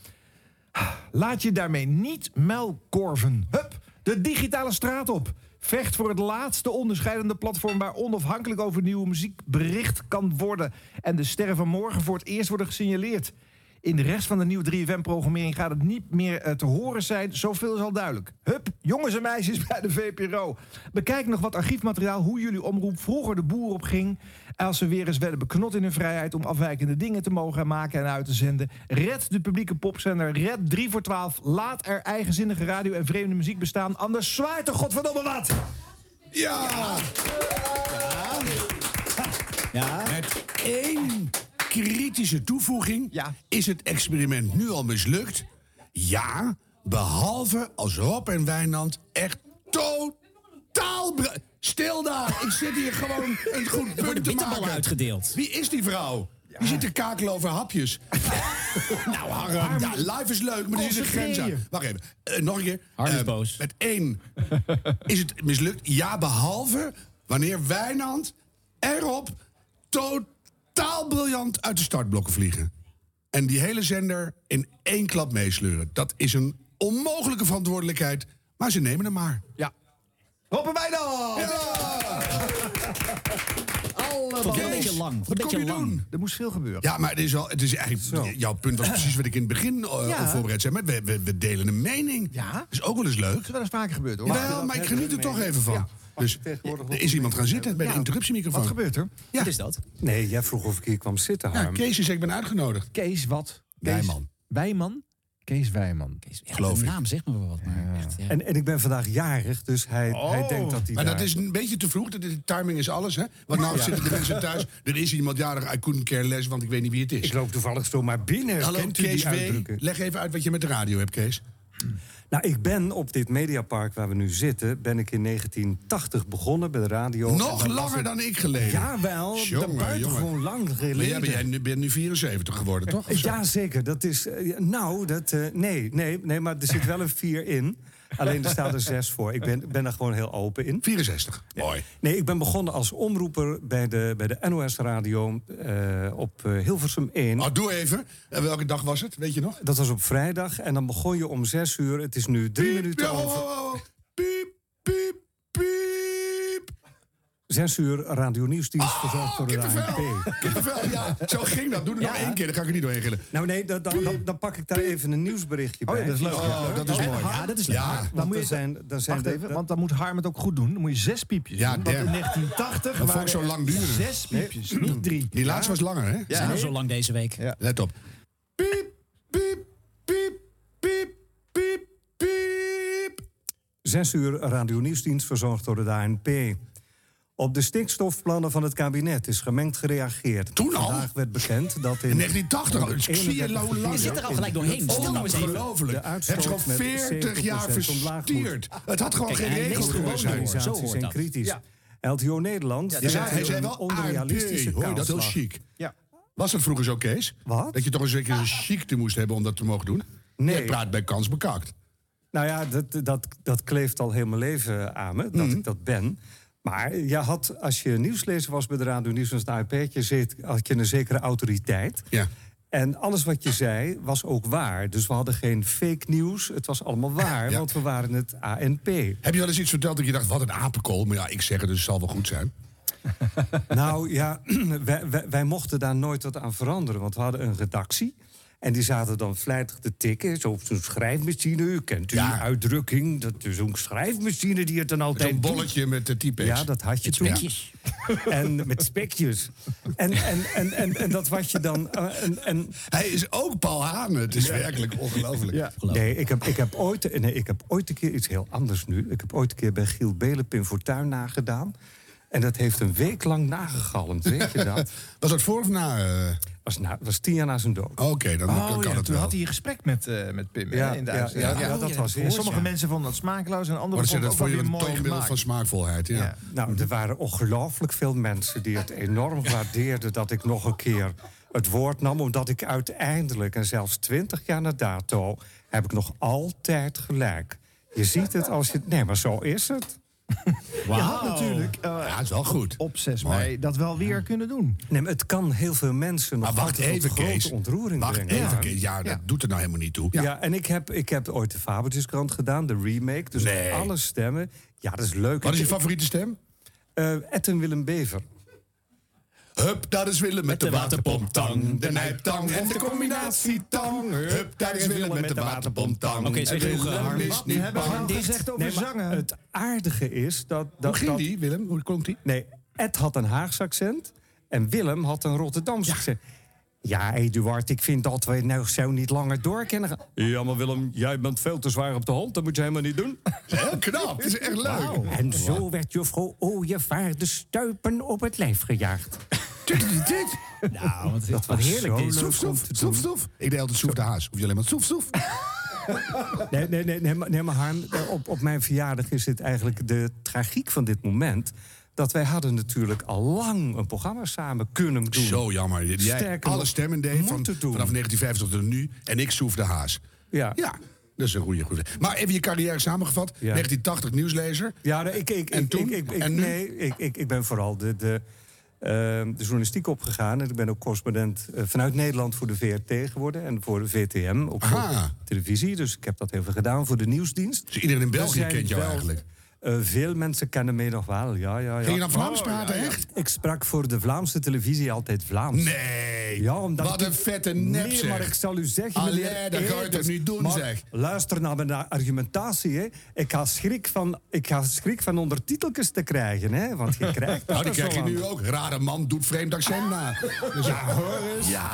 [SPEAKER 1] Laat je daarmee niet muilkorven. Hup, de digitale straat op. Vecht voor het laatste onderscheidende platform waar onafhankelijk over nieuwe muziek bericht kan worden. En de sterren van morgen voor het eerst worden gesignaleerd. In de rest van de nieuwe 3FM-programmering gaat het niet meer eh, te horen zijn. Zoveel is al duidelijk. Hup, jongens en meisjes bij de VPRO. Bekijk nog wat archiefmateriaal hoe jullie omroep vroeger de boer op ging. Als ze weer eens werden beknot in hun vrijheid om afwijkende dingen te mogen maken en uit te zenden. Red de publieke popzender, red 3 voor 12. Laat er eigenzinnige radio en vreemde muziek bestaan. Anders zwaait er godverdomme wat!
[SPEAKER 3] Ja! Met één kritische toevoeging is het experiment nu al mislukt. Ja, behalve als Rob en Wijnand echt totaal... bra- Stil daar, ik zit hier gewoon een goed punt te maken.
[SPEAKER 2] uitgedeeld.
[SPEAKER 3] Wie is die vrouw? Die zit te kakelen over hapjes. nou, Harm, ja, live is leuk, maar er zit een grens
[SPEAKER 1] Concentreer
[SPEAKER 3] aan.
[SPEAKER 1] je.
[SPEAKER 3] Wacht even, Eh, nog een keer. Eh, Met één is het mislukt. Ja, behalve wanneer Wijnand erop totaal briljant uit de startblokken vliegen. En die hele zender in één klap meesleuren. Dat is een onmogelijke verantwoordelijkheid, maar ze nemen hem maar.
[SPEAKER 1] Ja. Hoppen wij dan!
[SPEAKER 3] Allemaal. Een beetje lang. Wat kom je doen?
[SPEAKER 1] Er moest veel gebeuren.
[SPEAKER 3] Ja, maar het is, al, het is eigenlijk. Jouw punt was precies wat ik in het begin eh,
[SPEAKER 1] Ja.
[SPEAKER 3] voorbereid zei. Maar we, we, we delen een mening. Ja. Dat is ook wel eens leuk.
[SPEAKER 1] Dat is wel eens vaker gebeurd hoor.
[SPEAKER 3] Wel, maar ik geniet er toch even van. Dus er is iemand gaan zitten bij de interruptiemicrofoon.
[SPEAKER 1] Wat gebeurt er?
[SPEAKER 3] Ja.
[SPEAKER 1] Wat is dat?
[SPEAKER 5] Nee, jij vroeg of ik hier kwam zitten,
[SPEAKER 3] Ja, ehm,
[SPEAKER 5] Harm.
[SPEAKER 3] Nou, Kees is, ik ben uitgenodigd.
[SPEAKER 1] Kees wat?
[SPEAKER 5] Wijman.
[SPEAKER 1] Wijman? Kees Wijman.
[SPEAKER 5] Geloof
[SPEAKER 2] de
[SPEAKER 5] ik.
[SPEAKER 2] naam zeg maar wel wat. Maar eh, echt, ja.
[SPEAKER 5] En, en ik ben vandaag jarig, dus hij,
[SPEAKER 3] Oh.
[SPEAKER 1] Oh.
[SPEAKER 5] hij denkt dat hij
[SPEAKER 3] Maar
[SPEAKER 5] daar...
[SPEAKER 3] dat is een beetje te vroeg. dat- De timing is alles, hè? Want nou zitten de mensen thuis. Er is iemand jarig. I couldn't care less, want ik weet niet wie het is. Ik
[SPEAKER 5] loop toevallig zo maar binnen.
[SPEAKER 3] Hallo,
[SPEAKER 5] Kent u die
[SPEAKER 3] Kees W.
[SPEAKER 5] uitdrukking?
[SPEAKER 3] Leg even uit wat je met de radio hebt, Kees.
[SPEAKER 5] Hm. Nou, ik ben op dit mediapark waar we nu zitten, ben ik in 1980 begonnen bij de radio. En
[SPEAKER 3] Nog
[SPEAKER 5] daar was
[SPEAKER 3] langer
[SPEAKER 5] ik-
[SPEAKER 3] dan ik geleden.
[SPEAKER 1] Nou,
[SPEAKER 5] Jawel,
[SPEAKER 3] Jongen,
[SPEAKER 5] buitengewoon
[SPEAKER 3] jongen.
[SPEAKER 5] lang
[SPEAKER 3] Maar
[SPEAKER 5] geleden.
[SPEAKER 3] jij bent, jij nu- bent nu 74 geworden, toch? Of zo?
[SPEAKER 5] Ja, zeker. Dat is, eh, nou, dat, eh, nee, nee, nee, maar er zit wel een 4 in. Alleen er staat er 6 voor. Ik ben, ben daar gewoon heel open in.
[SPEAKER 3] 64, mooi.
[SPEAKER 5] Nee, ik ben begonnen als omroeper bij de, bij de NOS Radio eh, op eh, Hilversum 1.
[SPEAKER 3] Oh, doe even. En welke dag was het? Weet je nog?
[SPEAKER 5] Dat was op vrijdag en dan begon je om 6 uur. Het is nu drie minuten
[SPEAKER 3] Ja, oh,
[SPEAKER 5] over.
[SPEAKER 3] oh, oh.
[SPEAKER 5] 6 uur Radio Nieuwsdienst verzorgd door de
[SPEAKER 3] Oh,
[SPEAKER 5] ANP.
[SPEAKER 3] Kippenvel, ja. Zo ging dat. Doe het nog één keer, dan ga ik er niet doorheen gillen.
[SPEAKER 5] Nou nee, dan, dan, dan, dan pak ik daar even een nieuwsberichtje bij.
[SPEAKER 1] Oh ja, dat is leuk.
[SPEAKER 3] Oh, dat is mooi.
[SPEAKER 1] Ja, dat is leuk.
[SPEAKER 3] Ja.
[SPEAKER 5] oh, Dan moet je
[SPEAKER 1] er
[SPEAKER 5] zijn, dan zijn
[SPEAKER 1] Wacht even, want dan moet Harm het ook goed doen. Dan moet je zes piepjes
[SPEAKER 3] Ja,
[SPEAKER 1] doen. Want in
[SPEAKER 3] damn.
[SPEAKER 1] 1980
[SPEAKER 3] Dat vond
[SPEAKER 1] waren
[SPEAKER 3] ik zo
[SPEAKER 1] er
[SPEAKER 3] lang duren.
[SPEAKER 1] zes piepjes,
[SPEAKER 2] Mm.
[SPEAKER 1] niet drie.
[SPEAKER 3] Die laatste was langer, hè?
[SPEAKER 2] Zijn al zo lang deze week.
[SPEAKER 3] Let op.
[SPEAKER 5] Zes uur Radio Nieuwsdienst verzorgd door de ANP. Op de stikstofplannen van het kabinet is gemengd gereageerd.
[SPEAKER 3] Toen al?
[SPEAKER 5] Vandaag werd bekend dat in...
[SPEAKER 3] In 1980 al. Ik zie je nou lang.
[SPEAKER 5] Je zit er al
[SPEAKER 2] gelijk doorheen. Stil nou eens even.
[SPEAKER 3] Ongelooflijk. Het is gewoon 40 jaar verstierd. Het had gewoon geen regels kunnen zijn.
[SPEAKER 5] Organisaties zijn kritisch.
[SPEAKER 3] Ja.
[SPEAKER 5] LTO Nederland...
[SPEAKER 3] Ja, hij zei- hij
[SPEAKER 5] draait
[SPEAKER 3] zei
[SPEAKER 5] een
[SPEAKER 3] wel
[SPEAKER 5] onrealistische
[SPEAKER 3] ANP. Hoor je dat heel
[SPEAKER 5] kaalslag.
[SPEAKER 3] chic.
[SPEAKER 1] Ja.
[SPEAKER 3] Was dat vroeger zo, Kees? Dat je toch een zekere chic moest hebben om dat te mogen doen?
[SPEAKER 5] Nee.
[SPEAKER 3] Jij praat bij kans bekakt.
[SPEAKER 5] Nou ja, dat, dat, dat kleeft al heel mijn leven aan me, dat
[SPEAKER 3] Mhm.
[SPEAKER 5] ik dat ben. Maar je had, als je nieuwslezer was bij de Radio Nieuws en het AIP, je zit- had je een zekere autoriteit.
[SPEAKER 3] Ja.
[SPEAKER 5] En alles wat je zei was ook waar. Dus we hadden geen fake nieuws, het was allemaal waar, want we waren het ANP.
[SPEAKER 3] Heb je wel eens iets verteld dat je dacht, wat een apenkool. Maar ja, ik zeg het, dus het zal wel goed zijn.
[SPEAKER 5] Nou ja, wij, wij, wij mochten daar nooit wat aan veranderen. Want we hadden een redactie. En die zaten dan vlijtig te tikken. Zo op zo'n schrijfmachine. U kent u die uitdrukking. Dat is zo'n schrijfmachine die het dan altijd
[SPEAKER 3] Zo'n
[SPEAKER 5] doet.
[SPEAKER 3] bolletje met de typex.
[SPEAKER 5] Ja, dat had je
[SPEAKER 3] Met
[SPEAKER 5] toen.
[SPEAKER 3] spekjes.
[SPEAKER 5] En met spekjes. En, en, en, en, en dat was je dan... eh, en, en...
[SPEAKER 3] Hij is ook Paul Haan. Het is werkelijk ongelooflijk.
[SPEAKER 5] Nee, ik heb, ik, heb ooit, nee, ik heb ooit een keer iets heel anders nu. Ik heb ooit een keer bij Giel Belen Pim Fortuyn nagedaan. En dat heeft een week lang nagegalmd, weet je dat?
[SPEAKER 3] Was dat voor of na? eh?
[SPEAKER 5] Was, na, was tien jaar na zijn dood.
[SPEAKER 3] Oké, dan, dan kan
[SPEAKER 1] Oh, ja,
[SPEAKER 3] het
[SPEAKER 1] toen
[SPEAKER 3] wel.
[SPEAKER 1] had hij een gesprek met, eh, met Pim hè,
[SPEAKER 5] Ja,
[SPEAKER 1] in de
[SPEAKER 5] ja,
[SPEAKER 1] uitzending.
[SPEAKER 5] ja, ja, dat
[SPEAKER 1] Oh,
[SPEAKER 5] was
[SPEAKER 1] en
[SPEAKER 5] eerst,
[SPEAKER 1] Sommige
[SPEAKER 5] ja.
[SPEAKER 1] mensen vonden dat smakeloos en
[SPEAKER 3] Maar
[SPEAKER 1] anderen
[SPEAKER 3] dat zit dat
[SPEAKER 1] vonden het
[SPEAKER 3] voor
[SPEAKER 1] ook
[SPEAKER 3] je
[SPEAKER 1] wel weer
[SPEAKER 3] een
[SPEAKER 1] mooi
[SPEAKER 3] toonbeeld van
[SPEAKER 1] gemaakt.
[SPEAKER 3] smaakvolheid. Ja.
[SPEAKER 1] Ja.
[SPEAKER 5] Nou, er waren ongelooflijk veel mensen die het enorm waardeerden dat ik nog een keer het woord nam. Omdat ik uiteindelijk, en zelfs twintig jaar na dato, heb ik nog altijd gelijk. Je ziet het als je. Nee, maar zo is het.
[SPEAKER 1] Je had natuurlijk eh,
[SPEAKER 3] Ja, is wel goed.
[SPEAKER 1] op 6
[SPEAKER 3] Mooi.
[SPEAKER 1] mei dat wel weer kunnen doen.
[SPEAKER 5] Nee, maar het kan heel veel mensen nog
[SPEAKER 3] Maar wacht
[SPEAKER 5] altijd tot
[SPEAKER 3] even,
[SPEAKER 5] grote
[SPEAKER 3] Kees.
[SPEAKER 5] ontroering
[SPEAKER 3] Wacht
[SPEAKER 5] brengen.
[SPEAKER 3] even,
[SPEAKER 5] Ja.
[SPEAKER 3] Kees. Ja, dat
[SPEAKER 1] Ja.
[SPEAKER 3] doet er nou helemaal niet toe.
[SPEAKER 5] Ja. en ik heb, ik heb ooit de Fabeltjeskrant gedaan, de remake. Dus
[SPEAKER 3] Nee.
[SPEAKER 5] alle stemmen. Ja, dat is leuk.
[SPEAKER 3] Wat is je
[SPEAKER 5] Ik-
[SPEAKER 3] favoriete stem?
[SPEAKER 5] eh, Ed en Willem Bever.
[SPEAKER 3] Hup, daar is Willem met de waterpomptang. De nijptang en de combinatietang. Hup, daar is Willem met de waterpomptang.
[SPEAKER 2] Oké, zeg
[SPEAKER 3] En
[SPEAKER 2] genoeg,
[SPEAKER 3] Willem
[SPEAKER 2] Harm.
[SPEAKER 3] is
[SPEAKER 2] Wat?
[SPEAKER 1] Die
[SPEAKER 3] niet
[SPEAKER 1] hebben we
[SPEAKER 3] bang.
[SPEAKER 1] al
[SPEAKER 5] nou
[SPEAKER 1] gezegd over
[SPEAKER 5] Nee, maar
[SPEAKER 1] zangen.
[SPEAKER 5] Het aardige is dat... dat
[SPEAKER 3] Hoe ging
[SPEAKER 5] dat-
[SPEAKER 3] die, Willem? Hoe klonk die?
[SPEAKER 5] Nee, Ed had een Haagse accent en Willem had een Rotterdamse accent. Ja, Eduard, ik vind dat we nou zo niet langer door kunnen gaan. Ja, maar Willem, jij bent veel te zwaar op de hand. Dat moet je helemaal niet doen.
[SPEAKER 3] Heel knap, het is echt leuk.
[SPEAKER 5] En zo werd juffrouw
[SPEAKER 11] oh
[SPEAKER 5] Ooievaar de stuipen op het lijf gejaagd.
[SPEAKER 3] Dit,
[SPEAKER 2] Nou, wat, wat
[SPEAKER 5] Dat was
[SPEAKER 2] heerlijk dit.
[SPEAKER 5] zo leuk.
[SPEAKER 3] soef, soef, soef, soef. Ik deed altijd soef de haas. Hoef je alleen maar soef, soef.
[SPEAKER 5] Nee, nee, nee, nee, maar, nee, maar Harm, eh, op, op mijn verjaardag is dit eigenlijk de tragiek van dit moment. Dat wij hadden natuurlijk al lang een programma samen kunnen doen.
[SPEAKER 3] Zo jammer. Jij
[SPEAKER 5] Sterker
[SPEAKER 3] alle
[SPEAKER 5] nog,
[SPEAKER 3] stemmen deed van,
[SPEAKER 5] moeten doen.
[SPEAKER 3] vanaf 1950 tot nu. En ik soef de haas.
[SPEAKER 5] Ja.
[SPEAKER 3] Ja, dat is een goede. goede. Maar even je carrière samengevat. 1980 nieuwslezer.
[SPEAKER 5] Ja, nee, ik, ik,
[SPEAKER 3] En
[SPEAKER 5] ik,
[SPEAKER 3] toen?
[SPEAKER 5] ik, ik, ik-
[SPEAKER 3] En nu?
[SPEAKER 5] nee, ik, ik, ik ben vooral de, de, ehm, de journalistiek opgegaan. En ik ben ook correspondent eh, vanuit Nederland voor de VRT geworden. En voor de VTM, ook voor
[SPEAKER 3] Aha.
[SPEAKER 5] televisie. Dus ik heb dat even gedaan voor de nieuwsdienst.
[SPEAKER 3] Dus iedereen in
[SPEAKER 5] We
[SPEAKER 3] België
[SPEAKER 5] zijn
[SPEAKER 3] kent jou
[SPEAKER 5] wel-
[SPEAKER 3] eigenlijk.
[SPEAKER 5] eh, veel mensen kennen mij nog wel, ja, ja, ja.
[SPEAKER 3] Ging je dan Vlaams praten, echt?
[SPEAKER 5] Ik sprak voor de Vlaamse televisie altijd Vlaams.
[SPEAKER 3] Nee.
[SPEAKER 5] Ja, omdat
[SPEAKER 3] Wat
[SPEAKER 5] ik-
[SPEAKER 3] een vette nep,
[SPEAKER 5] Nee,
[SPEAKER 3] zeg.
[SPEAKER 5] maar ik zal u zeggen,
[SPEAKER 3] Allee,
[SPEAKER 5] meneer
[SPEAKER 3] dat kan je
[SPEAKER 5] Eders,
[SPEAKER 3] toch niet doen,
[SPEAKER 5] maar
[SPEAKER 3] zeg.
[SPEAKER 5] Luister naar mijn argumentatie, hè. Ik ga schrik van, ik ga schrik van ondertiteltjes te krijgen, hè. Want je krijgt dat
[SPEAKER 3] Nou, die
[SPEAKER 5] er zo
[SPEAKER 3] krijg je
[SPEAKER 5] aan.
[SPEAKER 3] nu ook. Rare man doet vreemd accent na. Dus ja, hoor eens. Ja.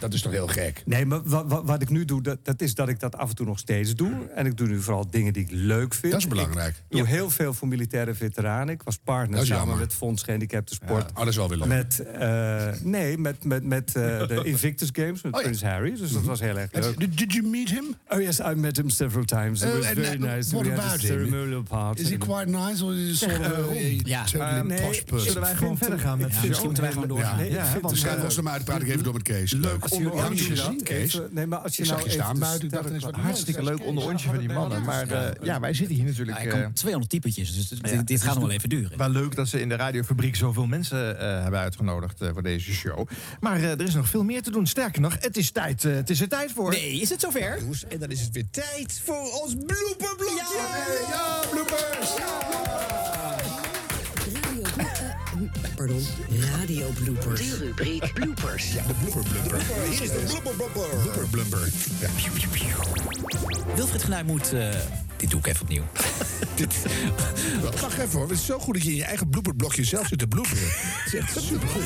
[SPEAKER 3] Dat is toch heel gek?
[SPEAKER 5] Nee, maar wat, wat, wat ik nu doe, dat, dat is dat ik dat af en toe nog steeds doe. En ik doe nu vooral dingen die ik leuk vind.
[SPEAKER 3] Dat is belangrijk.
[SPEAKER 5] Ik doe heel veel voor militaire veteranen. Ik was
[SPEAKER 3] Dat
[SPEAKER 5] partner
[SPEAKER 3] is
[SPEAKER 5] samen
[SPEAKER 3] jammer.
[SPEAKER 5] met Fonds Gehandicapten Sport.
[SPEAKER 3] oh, dat is wel weer leuk.
[SPEAKER 5] Met, eh, nee, met, met, met eh, de Invictus Games, met
[SPEAKER 3] Oh, ja.
[SPEAKER 5] Prins Harry. Dus dat was heel erg leuk.
[SPEAKER 3] Did, did you meet him?
[SPEAKER 5] Oh yes, I met him several times. It
[SPEAKER 3] Oh,
[SPEAKER 5] was
[SPEAKER 3] and,
[SPEAKER 5] very
[SPEAKER 3] uh,
[SPEAKER 5] nice.
[SPEAKER 3] what
[SPEAKER 5] We had
[SPEAKER 3] about
[SPEAKER 5] a
[SPEAKER 3] him?
[SPEAKER 5] ceremonial part.
[SPEAKER 3] Is he quite nice or is he sort of
[SPEAKER 5] Eh,
[SPEAKER 3] a
[SPEAKER 5] ja.
[SPEAKER 3] totally
[SPEAKER 5] Eh, nee,
[SPEAKER 3] posh person?
[SPEAKER 5] zullen wij gewoon verder gaan met Ja, Phil? misschien moeten wij gewoon doorgaan. Nee, ik vind-
[SPEAKER 3] want,
[SPEAKER 5] dus
[SPEAKER 3] schrijf
[SPEAKER 5] eh,
[SPEAKER 3] ons er maar uit, praat ik even door met Kees. Ah, Leuk.
[SPEAKER 5] Als jullie-
[SPEAKER 3] Heb je
[SPEAKER 5] als
[SPEAKER 3] ze
[SPEAKER 5] jullie
[SPEAKER 3] gezien,
[SPEAKER 5] dat
[SPEAKER 3] Kees?
[SPEAKER 5] even- nee, maar als je
[SPEAKER 3] Ik zag
[SPEAKER 5] nou
[SPEAKER 3] je staan
[SPEAKER 5] even
[SPEAKER 3] buiten. ik dacht
[SPEAKER 5] sterk-
[SPEAKER 3] ineens, wat
[SPEAKER 1] Hartstikke leuk onderontje van die mannen. Maar eh, ja, wij zitten hier natuurlijk... eh,
[SPEAKER 2] Hij kan twee honderd typetjes, dus dit- dit gaat nog wel even duren.
[SPEAKER 1] Wel leuk dat ze in de radiofabriek zoveel mensen eh, hebben uitgenodigd eh, voor deze show. Maar eh, er is nog veel meer te doen. Sterker nog, het is tijd, eh, het is er tijd voor.
[SPEAKER 2] Nee, is het zover?
[SPEAKER 1] en dan is het weer tijd voor ons blooperblokje.
[SPEAKER 3] Ja, bloopers!
[SPEAKER 25] Pardon. Radio bloopers. De rubriek bloopers.
[SPEAKER 3] Ja, de blooper blooper.
[SPEAKER 25] Hier is de
[SPEAKER 3] blooper blooper. Blooper blooper. Ja.
[SPEAKER 2] Wilfried Genuij moet... eh, dit doe ik even opnieuw.
[SPEAKER 3] Wacht even hoor, het is zo goed dat je in je eigen blooperblokje zelf zit te bloeperen. Het is echt supergoed.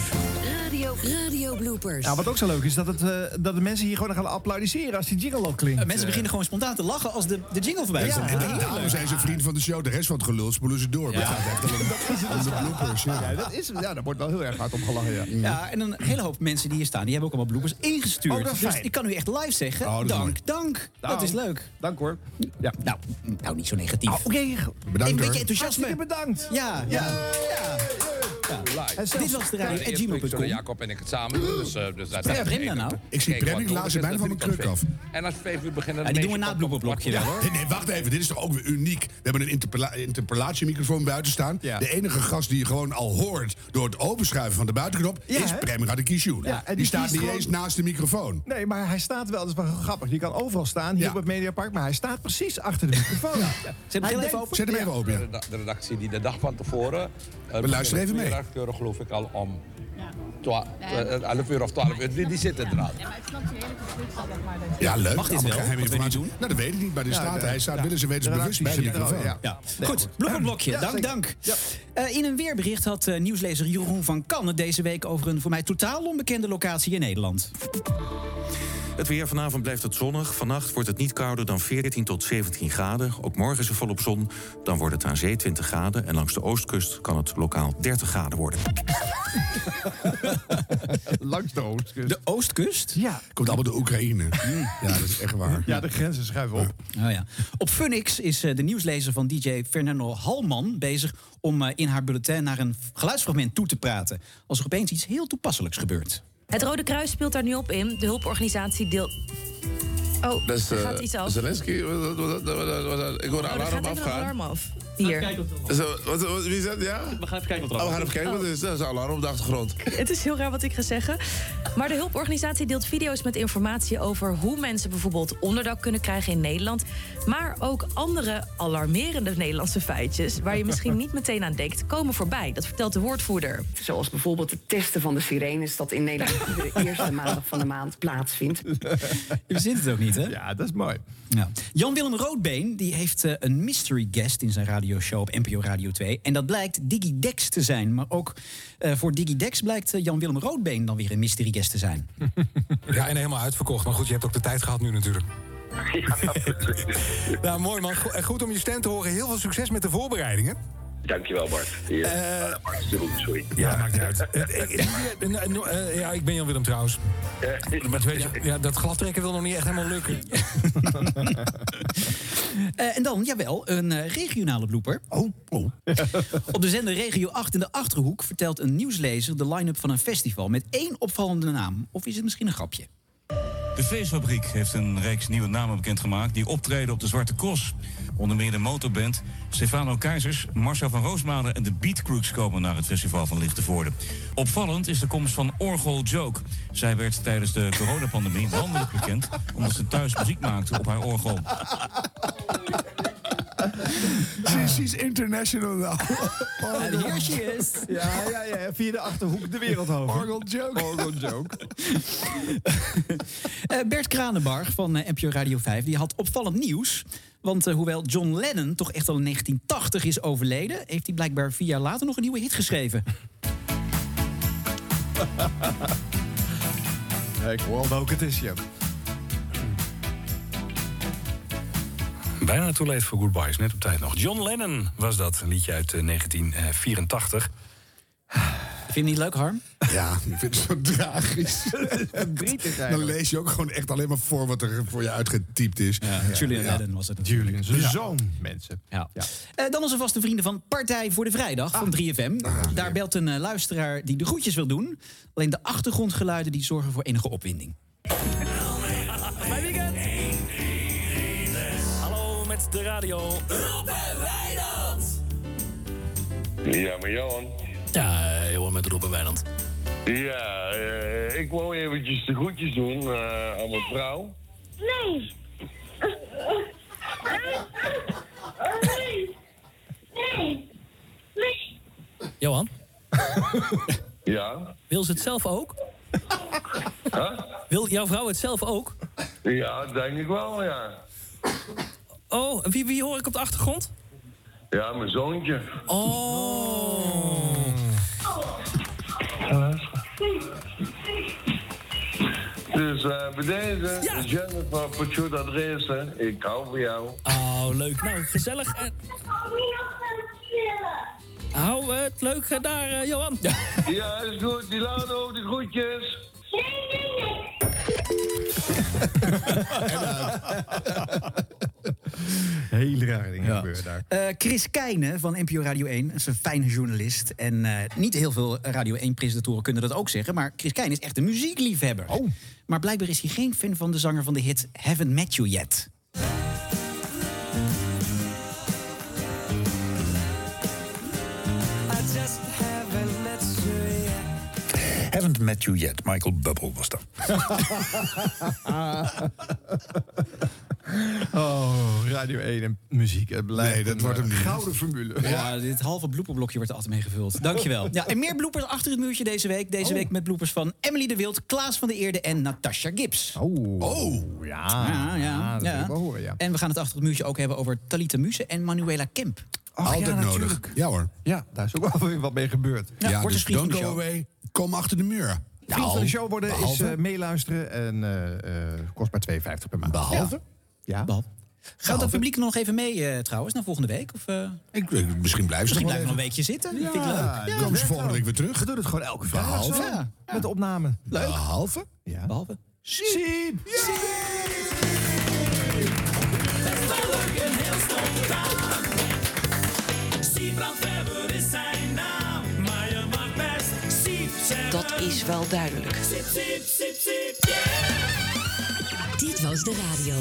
[SPEAKER 25] Radio, radio bloopers.
[SPEAKER 1] Nou, wat ook zo leuk is, dat, het, eh, dat de mensen hier gewoon gaan applaudisseren als die jingle al klinkt.
[SPEAKER 2] Eh, mensen beginnen gewoon spontaan te lachen als de, de jingle voorbij
[SPEAKER 3] Ja,
[SPEAKER 2] komt.
[SPEAKER 3] en da- daarom zijn ze vriend van de show. De rest van het gelul spoelen ze door. Maar het gaat echt alleen maar om de bloopers. Ja.
[SPEAKER 1] Ja, dat is, ja, daar wordt wel heel erg hard om gelachen, ja.
[SPEAKER 2] Ja, en een hele hoop mensen die hier staan, die hebben ook allemaal bloepers ingestuurd.
[SPEAKER 1] Oh, dat is
[SPEAKER 2] dus
[SPEAKER 1] fijn.
[SPEAKER 2] ik kan u echt live zeggen,
[SPEAKER 1] Oh, dat is
[SPEAKER 2] dank,
[SPEAKER 1] mooi. Nou,
[SPEAKER 2] dank, Dat is leuk.
[SPEAKER 1] Dank hoor. Ja. Oh,
[SPEAKER 2] Nou, nou niet zo negatief.
[SPEAKER 1] Oké,
[SPEAKER 2] een beetje
[SPEAKER 1] hoor. Ah,
[SPEAKER 2] enthousiasme.
[SPEAKER 1] Hartstikke bedankt.
[SPEAKER 2] Ja, ja. Dit was de radio at
[SPEAKER 11] Zullen
[SPEAKER 2] gmail.com.
[SPEAKER 11] Jacob en ik het samen doen. Dus, eh, dus daar
[SPEAKER 2] Prem,
[SPEAKER 11] zijn
[SPEAKER 2] Prem
[SPEAKER 11] we
[SPEAKER 2] daar nou?
[SPEAKER 11] in.
[SPEAKER 3] Ik zie
[SPEAKER 11] Kijk,
[SPEAKER 3] Prem,
[SPEAKER 11] wat
[SPEAKER 3] ik laat ze
[SPEAKER 11] nodig
[SPEAKER 3] bijna
[SPEAKER 11] is,
[SPEAKER 3] van mijn
[SPEAKER 11] dat doe ik
[SPEAKER 3] kruk af.
[SPEAKER 11] dan. En als vijf uur beginnen...
[SPEAKER 2] Ja, die doen we na het bloemenblokje wel, hoor.
[SPEAKER 3] Nee, nee, wacht even. Dit is toch ook weer uniek. We hebben een interpella- interpellatiemicrofoon buiten staan. De enige gast die je gewoon al hoort door het openschuiven van de buitenknop...
[SPEAKER 1] Ja,
[SPEAKER 3] is
[SPEAKER 1] hè?
[SPEAKER 3] Prem Radekisjoen.
[SPEAKER 1] Ja, en
[SPEAKER 3] die,
[SPEAKER 1] die
[SPEAKER 3] staat
[SPEAKER 1] kiest
[SPEAKER 3] niet
[SPEAKER 1] gewoon-
[SPEAKER 3] eens naast de microfoon.
[SPEAKER 1] Nee, maar hij staat wel. Dat is wel grappig. Die kan overal staan, hier op het Mediapark. Maar hij staat precies achter de microfoon. Ja.
[SPEAKER 2] Zet hem
[SPEAKER 1] Hij
[SPEAKER 2] heel even
[SPEAKER 1] denkt-
[SPEAKER 2] open.
[SPEAKER 3] Zet hem even open, ja.
[SPEAKER 11] De reda- De redactie die de dag van tevoren... eh,
[SPEAKER 3] We luisteren even
[SPEAKER 11] om
[SPEAKER 3] mee.
[SPEAKER 11] vier uur keuren, geloof ik al om... twa- eh, 11 uur of 12 uur. Die, die zitten er al.
[SPEAKER 3] Ja, leuk.
[SPEAKER 2] Mag dit
[SPEAKER 3] Allemaal
[SPEAKER 2] wel?
[SPEAKER 3] geheime
[SPEAKER 2] Wat we
[SPEAKER 3] informatie. Nou, dat weet ik niet, maar er
[SPEAKER 2] Ja,
[SPEAKER 3] staat,
[SPEAKER 2] de-
[SPEAKER 3] hij staat
[SPEAKER 2] ja.
[SPEAKER 3] willen ze weten
[SPEAKER 2] De
[SPEAKER 3] bewust bij de
[SPEAKER 2] redactie
[SPEAKER 3] microfoon.
[SPEAKER 1] Ja.
[SPEAKER 2] Ja. Goed, blokkenblokje.
[SPEAKER 1] Ja,
[SPEAKER 2] dank,
[SPEAKER 1] zeker.
[SPEAKER 2] dank.
[SPEAKER 1] Ja.
[SPEAKER 2] Eh, in een weerbericht had eh, nieuwslezer Jeroen van Kannen deze week over een voor mij totaal onbekende locatie in Nederland.
[SPEAKER 26] Het weer vanavond blijft het zonnig. Vannacht wordt het niet kouder dan 14 tot 17 graden. Ook morgen is er volop zon. Dan wordt het aan zee 20 graden. En langs de oostkust kan het lokaal 30 graden worden.
[SPEAKER 1] Langs de oostkust.
[SPEAKER 2] De oostkust? Mm.
[SPEAKER 1] Ja.
[SPEAKER 3] Komt allemaal door Oekraïne. Ja, dat is echt waar.
[SPEAKER 1] Ja, de grenzen schuiven op.
[SPEAKER 2] Oh ja. Op Funix is eh, de nieuwslezer van DJ Fernando Halman bezig om eh, in haar bulletin naar een geluidsfragment toe te praten. Als er opeens iets heel toepasselijks gebeurt.
[SPEAKER 16] Het Rode Kruis speelt daar nu op in. De hulporganisatie deelt. Oh,
[SPEAKER 8] Dus,
[SPEAKER 16] er
[SPEAKER 8] eh,
[SPEAKER 16] gaat iets af.
[SPEAKER 8] Zelensky, wat- wat- wat- wat- wat- wat- ik
[SPEAKER 16] Oh,
[SPEAKER 8] hoor een
[SPEAKER 16] er gaat
[SPEAKER 8] alarm
[SPEAKER 16] even een alarm
[SPEAKER 8] afgaan.
[SPEAKER 16] af. Hier.
[SPEAKER 8] Zo, wat- wat- Wie is dat? Ja? We gaan even kijken wat er Oh, we gaan even kijken wat er is. Dat is een alarm op de achtergrond.
[SPEAKER 16] Het is heel raar wat ik ga zeggen. Maar de hulporganisatie deelt video's met informatie over hoe mensen bijvoorbeeld onderdak kunnen krijgen in Nederland. Maar ook andere alarmerende Nederlandse feitjes, waar je misschien niet meteen aan denkt, komen voorbij. Dat vertelt de woordvoerder. Zoals bijvoorbeeld het testen van de sirenes dat in Nederland iedere eerste maandag van de maand plaatsvindt.
[SPEAKER 2] Je verzint het ook niet, hè?
[SPEAKER 1] Ja, dat is mooi.
[SPEAKER 2] Jan-Willem Roodbeen die heeft eh, een mystery guest in zijn radioshow op NPO Radio 2. En dat blijkt DigiDex te zijn. Maar ook eh, voor DigiDex blijkt eh, Jan-Willem Roodbeen dan weer een mystery guest te zijn.
[SPEAKER 27] Ja, en helemaal uitverkocht. Maar goed, je hebt ook de tijd gehad nu natuurlijk. nou, mooi man. Go- eh, Goed om je stem te horen. Heel veel succes met de voorbereidingen.
[SPEAKER 28] Dankjewel, Bart. Ja, eh, Bart, sorry.
[SPEAKER 27] Ja, maakt niet uit. Eh, eh, eh, eh, no- eh, Ja, ik ben Jan Willem trouwens. Maar het weet je, ja, dat gladtrekken wil nog niet echt helemaal lukken.
[SPEAKER 2] Eh, en dan, jawel, een eh, regionale blooper.
[SPEAKER 3] Oh, oh.
[SPEAKER 2] Op de zender Regio 8 in de Achterhoek vertelt een nieuwslezer de line-up van een festival met één opvallende naam. Of is het misschien een grapje?
[SPEAKER 29] De Feestfabriek heeft een reeks nieuwe namen bekendgemaakt die optreden op de Zwarte Cross. Onder meer de motorband Stefano Keizers, Marcel van Roosmalen en de Beatcrooks komen naar het festival van Lichtenvoorde. Opvallend is de komst van Orgel Joke. Zij werd tijdens de coronapandemie landelijk bekend omdat ze thuis muziek maakte op haar orgel.
[SPEAKER 3] She's international now.
[SPEAKER 2] En hier she is.
[SPEAKER 1] Oh, Ja, ja, ja. Via de Achterhoek de wereld over. Orgel joke. Orgel joke.
[SPEAKER 2] Eh, Bert Kranenbarg van eh, NPO Radio 5 die had opvallend nieuws. Want eh, hoewel John Lennon toch echt al in 1980 is overleden... heeft hij blijkbaar vier jaar later nog een nieuwe hit geschreven.
[SPEAKER 1] Ja, ik hoor al welke het is, ja.
[SPEAKER 12] Bijna too late for goodbyes, net op tijd nog. John Lennon was dat, een liedje uit eh, 1984.
[SPEAKER 2] Vind je het niet leuk, Harm?
[SPEAKER 3] Ja, ik vind het zo tragisch. Dan lees je ook gewoon echt alleen maar voor wat er voor je uitgetypt is.
[SPEAKER 2] Julian Lennon was het. Julian,
[SPEAKER 1] zijn
[SPEAKER 3] zoon,
[SPEAKER 1] mensen.
[SPEAKER 2] Ja. Eh, dan onze vaste vrienden van Partij voor de Vrijdag van 3FM. Daar belt een eh, luisteraar die de groetjes wil doen. Alleen de achtergrondgeluiden die zorgen voor enige opwinding.
[SPEAKER 13] Mijn weekend. Hallo met de radio.
[SPEAKER 11] Ja, maar Johan.
[SPEAKER 13] Ja, jongen met Robben Wijnand.
[SPEAKER 11] Ja, eh, ik wou eventjes de groetjes doen eh, aan mijn vrouw.
[SPEAKER 13] Nee. Johan?
[SPEAKER 11] Ja?
[SPEAKER 13] Wil ze het zelf ook? Wil jouw vrouw het zelf ook?
[SPEAKER 11] Ja, denk ik wel, ja.
[SPEAKER 13] Oh, wie, wie hoor ik op de achtergrond?
[SPEAKER 11] Ja, mijn zoontje.
[SPEAKER 13] Oh.
[SPEAKER 11] Dus eh, bij deze, Jennifer Pachuta Andreessen, ik hou van jou.
[SPEAKER 13] Oh, leuk. Nou, gezellig. En... Hou het leuk eh, daar, eh, Johan.
[SPEAKER 11] Ja, is goed. Dilano, de groetjes.
[SPEAKER 1] Hele rare dingen gebeuren daar.
[SPEAKER 2] Eh, Chris Keijnen van NPO Radio 1 dat is een fijne journalist. En eh, niet heel veel Radio 1-presentatoren kunnen dat ook zeggen. Maar Chris Keijnen is echt een muziekliefhebber.
[SPEAKER 1] Oh.
[SPEAKER 2] Maar blijkbaar is hij geen fan van de zanger van de hit Haven't Met You Yet.
[SPEAKER 13] I just haven't met you yet.
[SPEAKER 30] Haven't met you yet. Michael Bubble was dat.
[SPEAKER 1] Oh, Radio 1 en muziek. Het blijft
[SPEAKER 3] Nee, dat
[SPEAKER 1] een,
[SPEAKER 3] wordt hem
[SPEAKER 1] eh,
[SPEAKER 3] niet.
[SPEAKER 1] gouden formule.
[SPEAKER 2] Ja, dit halve blooperblokje wordt er altijd mee gevuld. Dankjewel. Ja, en meer bloepers achter het muurtje deze week.
[SPEAKER 3] Oh.
[SPEAKER 2] Deze week met bloepers van Emily de Wild, Klaas van der Eerde en Natasha Gibbs.
[SPEAKER 1] Oh,
[SPEAKER 2] ja. Ja,
[SPEAKER 1] Ja, dat wil ik wel horen, ja.
[SPEAKER 2] En we gaan het achter het muurtje ook hebben over Talita Muse en Manuela Kemp.
[SPEAKER 1] Oh,
[SPEAKER 2] Oh,
[SPEAKER 3] Altijd nodig. Ja hoor.
[SPEAKER 1] Ja, daar is ook wel weer wat mee gebeurd.
[SPEAKER 2] Ja, wordt een vriend van
[SPEAKER 3] don't
[SPEAKER 2] de
[SPEAKER 3] go
[SPEAKER 2] show.
[SPEAKER 3] away, dus kom achter de muur.
[SPEAKER 1] Vriend van de show worden
[SPEAKER 3] behalve-
[SPEAKER 1] is eh, meeluisteren en eh, eh, kost maar 2,50 per maand.
[SPEAKER 3] Behalve?
[SPEAKER 1] Ja.
[SPEAKER 3] Nou,
[SPEAKER 2] Gaat dat publiek nog even mee eh, trouwens naar volgende week? Of, eh,
[SPEAKER 3] Ik, eh,
[SPEAKER 2] misschien
[SPEAKER 3] misschien blijven ze nog wel
[SPEAKER 2] blijven we nog een
[SPEAKER 3] even.
[SPEAKER 2] weekje zitten.
[SPEAKER 1] Ja,
[SPEAKER 2] Vind ik leuk.
[SPEAKER 1] ja,
[SPEAKER 2] Ja.
[SPEAKER 3] Komen ze volgende week weer terug? We
[SPEAKER 1] doen het gewoon elke
[SPEAKER 3] vrijdag
[SPEAKER 1] Behalve?
[SPEAKER 3] zo.
[SPEAKER 1] Ja. Met de opname.
[SPEAKER 2] Leuk.
[SPEAKER 3] Behalve?
[SPEAKER 1] Nou, Ja.
[SPEAKER 2] Behalve.
[SPEAKER 1] Siep.
[SPEAKER 13] Siebrandwebber is zijn naam, maar je mag best Siep zeggen.
[SPEAKER 16] Dat is wel duidelijk.
[SPEAKER 13] Siep, siep, siep, siep, yeah.
[SPEAKER 16] Dit was de radio.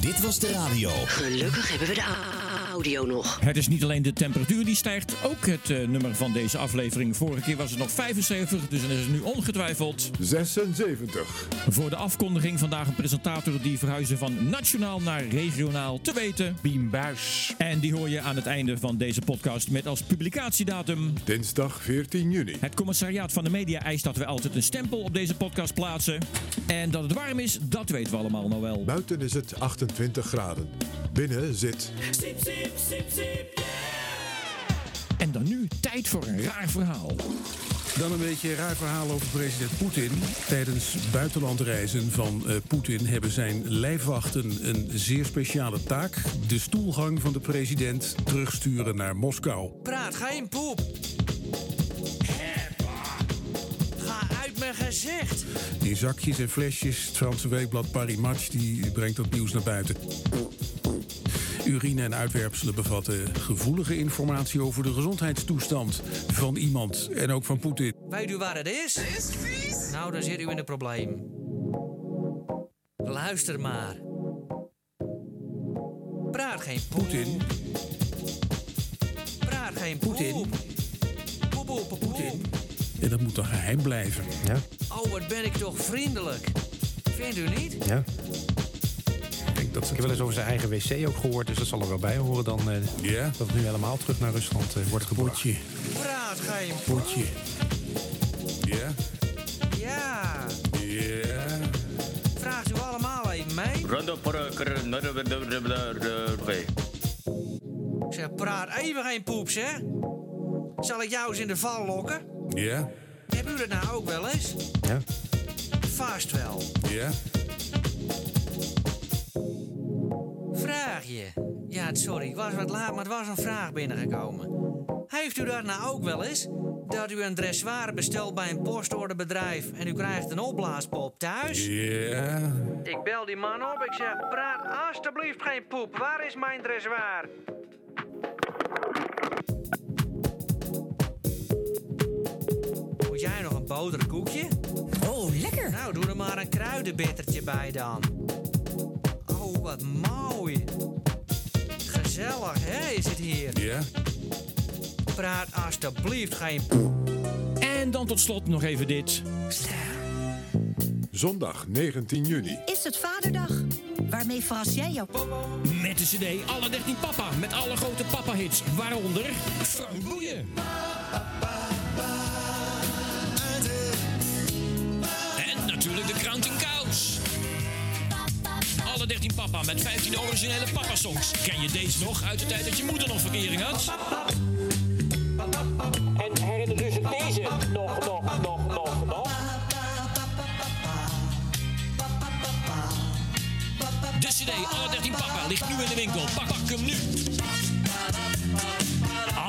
[SPEAKER 4] Dit was de radio.
[SPEAKER 16] Gelukkig hebben we de a- audio nog.
[SPEAKER 29] Het is niet alleen de temperatuur die stijgt, ook het eh, nummer van deze aflevering. Vorige keer was het nog 75, dus het is nu ongetwijfeld 76. Voor de afkondiging vandaag een presentator die verhuizen van nationaal naar regionaal te weten. Biem Buis. En die hoor je aan het einde van deze podcast met als publicatiedatum dinsdag 14 juni. Het commissariaat van de media eist dat we altijd een stempel op deze podcast plaatsen. En dat het warm is, dat weten we allemaal nog wel. Buiten is het 28 graden. Binnen zit
[SPEAKER 13] Siep, siep, siep, siep,
[SPEAKER 29] En dan nu tijd voor een raar verhaal.
[SPEAKER 15] Dan een beetje een raar verhaal over president Poetin. Tijdens buitenlandreizen van eh, Poetin hebben zijn lijfwachten een zeer speciale taak: de stoelgang van de president terugsturen naar Moskou.
[SPEAKER 19] Praat, ga in poep. Ga uit mijn gezicht.
[SPEAKER 15] In zakjes en flesjes. Het Franse weekblad Paris Match die brengt dat nieuws naar buiten. Urine en uitwerpselen bevatten gevoelige informatie over de gezondheidstoestand van iemand en ook van Poetin.
[SPEAKER 19] Weet u waar het is? is vies. Nou, dan zit u in een probleem. Luister maar. Praat geen
[SPEAKER 15] Poetin
[SPEAKER 19] Praat geen Poetin. Poep, poep, poep, Poetin.
[SPEAKER 15] En dat moet dan geheim blijven. Ja.
[SPEAKER 19] Oh, wat ben ik toch vriendelijk. Vindt u niet?
[SPEAKER 15] ja. Ik
[SPEAKER 18] heb wel eens over zijn eigen wc ook gehoord, dus dat zal er wel bij horen dan. eh, Dat het nu helemaal terug naar Rusland eh, wordt gebracht.
[SPEAKER 19] Praat geen
[SPEAKER 15] Potje. Ja.
[SPEAKER 19] Ja.
[SPEAKER 15] Ja.
[SPEAKER 19] Vraagt u allemaal even mee. Ik zeg, praat even geen poeps, hè? Zal ik jou eens in de val lokken?
[SPEAKER 15] Ja.
[SPEAKER 19] Hebben u dat nou ook wel eens?
[SPEAKER 15] Ja.
[SPEAKER 31] vast wel.
[SPEAKER 32] Ja?
[SPEAKER 31] Vraag je. Ja, sorry, ik was wat laat, maar het was een vraag binnengekomen. Heeft u dat nou ook wel eens? Dat u een dressoir bestelt bij een postorderbedrijf en u krijgt een opblaaspop thuis?
[SPEAKER 32] Ja.
[SPEAKER 31] Ik bel die man op, ik zeg: praat alstublieft geen poep, waar is mijn dressoir? Moet jij nog een boterkoekje? Oh, lekker! Nou, doe er maar een kruidenbittertje bij dan. Oh, wat mooi! Gezellig, hè, is het hier?
[SPEAKER 32] Ja?
[SPEAKER 31] Praat alstublieft geen
[SPEAKER 29] En dan tot slot nog even dit.
[SPEAKER 15] Zondag 19 juni.
[SPEAKER 11] Is het vaderdag? Waarmee verras jij jouw papa?
[SPEAKER 29] Met de cd Alle 13 Papa, met alle grote papa-hits. Waaronder Frank Boeien. En natuurlijk de krant in kous. Alle 13 Papa, met 15 originele papa-songs. Ken je deze nog uit de tijd dat je moeder nog verkering had?
[SPEAKER 33] En herinner u zich deze? Nog, nog, nog, nog, nog.
[SPEAKER 29] De cd Alle 13 Papa ligt nu in de winkel. Pak, pak hem nu.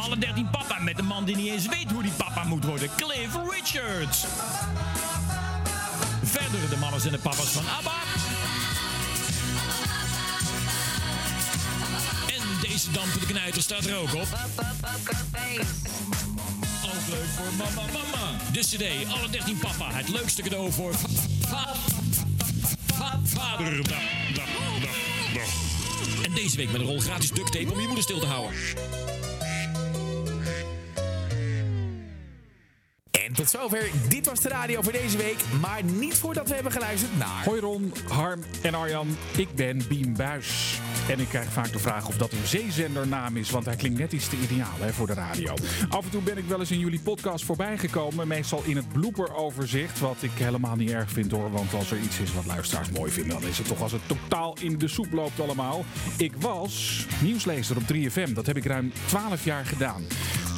[SPEAKER 29] Alle 13 Papa met de man die niet eens weet hoe die papa moet worden. Cliff Richards. Verder de mannen en de papa's van ABBA. En deze dampende knijter staat er ook op. Ook leuk voor mama, mama. De cd Alle 13 Papa. Het leukste cadeau voor va- va- va- vaderdag. Dag, dag, dag. En deze week met een rol gratis duct tape om je moeder stil te houden.
[SPEAKER 34] En tot zover. Dit was de radio voor deze week. Maar niet voordat we hebben geluisterd naar...
[SPEAKER 35] Hoi Ron, Harm en Arjan. Ik ben Biem Buis. En ik krijg vaak de vraag of dat een zeezendernaam is, want hij klinkt net iets te ideaal hè, voor de radio. Af en toe ben ik wel eens in jullie podcast voorbijgekomen, meestal in het blooperoverzicht, wat ik helemaal niet erg vind hoor, want als er iets is wat luisteraars mooi vinden, dan is het toch als het totaal in de soep loopt allemaal. Ik was nieuwslezer op 3FM, dat heb ik ruim 12 jaar gedaan.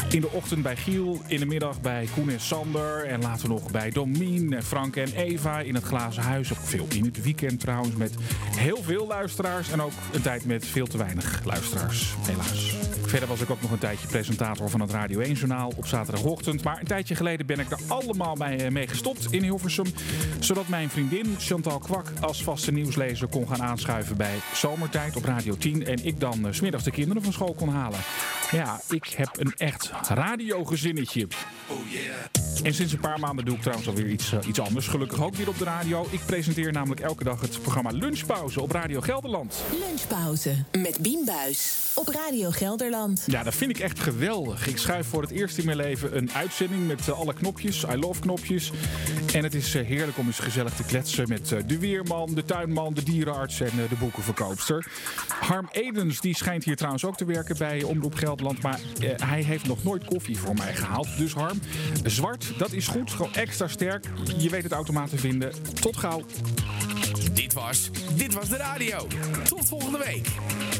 [SPEAKER 35] In de ochtend bij Giel, in de middag bij Koen en Sander. En later nog bij Domien, en Frank en Eva in het glazen huis. Ook veel in het weekend trouwens, met heel veel luisteraars. En ook een tijd met veel te weinig luisteraars, helaas. Verder was ik ook nog een tijdje presentator van het Radio 1-journaal op zaterdagochtend. Maar een tijdje geleden ben ik er allemaal mee, eh, mee gestopt in Hilversum. Zodat mijn vriendin Chantal Kwak als vaste nieuwslezer kon gaan aanschuiven bij Zomertijd op Radio 10. En ik dan eh, 's smiddags de kinderen van school kon halen. Ja, ik heb een echt radiogezinnetje. En sinds een paar maanden doe ik trouwens alweer iets, eh, iets anders. Gelukkig ook weer op de radio. Ik presenteer namelijk elke dag het programma Lunchpauze op Radio Gelderland.
[SPEAKER 7] Lunchpauze met Bien Buis op Radio Gelderland.
[SPEAKER 35] Ja, dat vind ik echt geweldig. Ik schuif voor het eerst in mijn leven een uitzending met eh, alle knopjes, I love knopjes. En het is eh, heerlijk om eens gezellig te kletsen met eh, de weerman, de tuinman, de dierenarts en eh, de boekenverkoopster. Harm Edens die schijnt hier trouwens ook te werken bij Omroep Gelderland, maar eh, hij heeft nog nooit koffie voor mij gehaald. Dus Harm, zwart, dat is goed, gewoon extra sterk. Je weet het automaat te vinden. Tot gauw.
[SPEAKER 34] Dit was... Dit was de radio. Tot volgende week.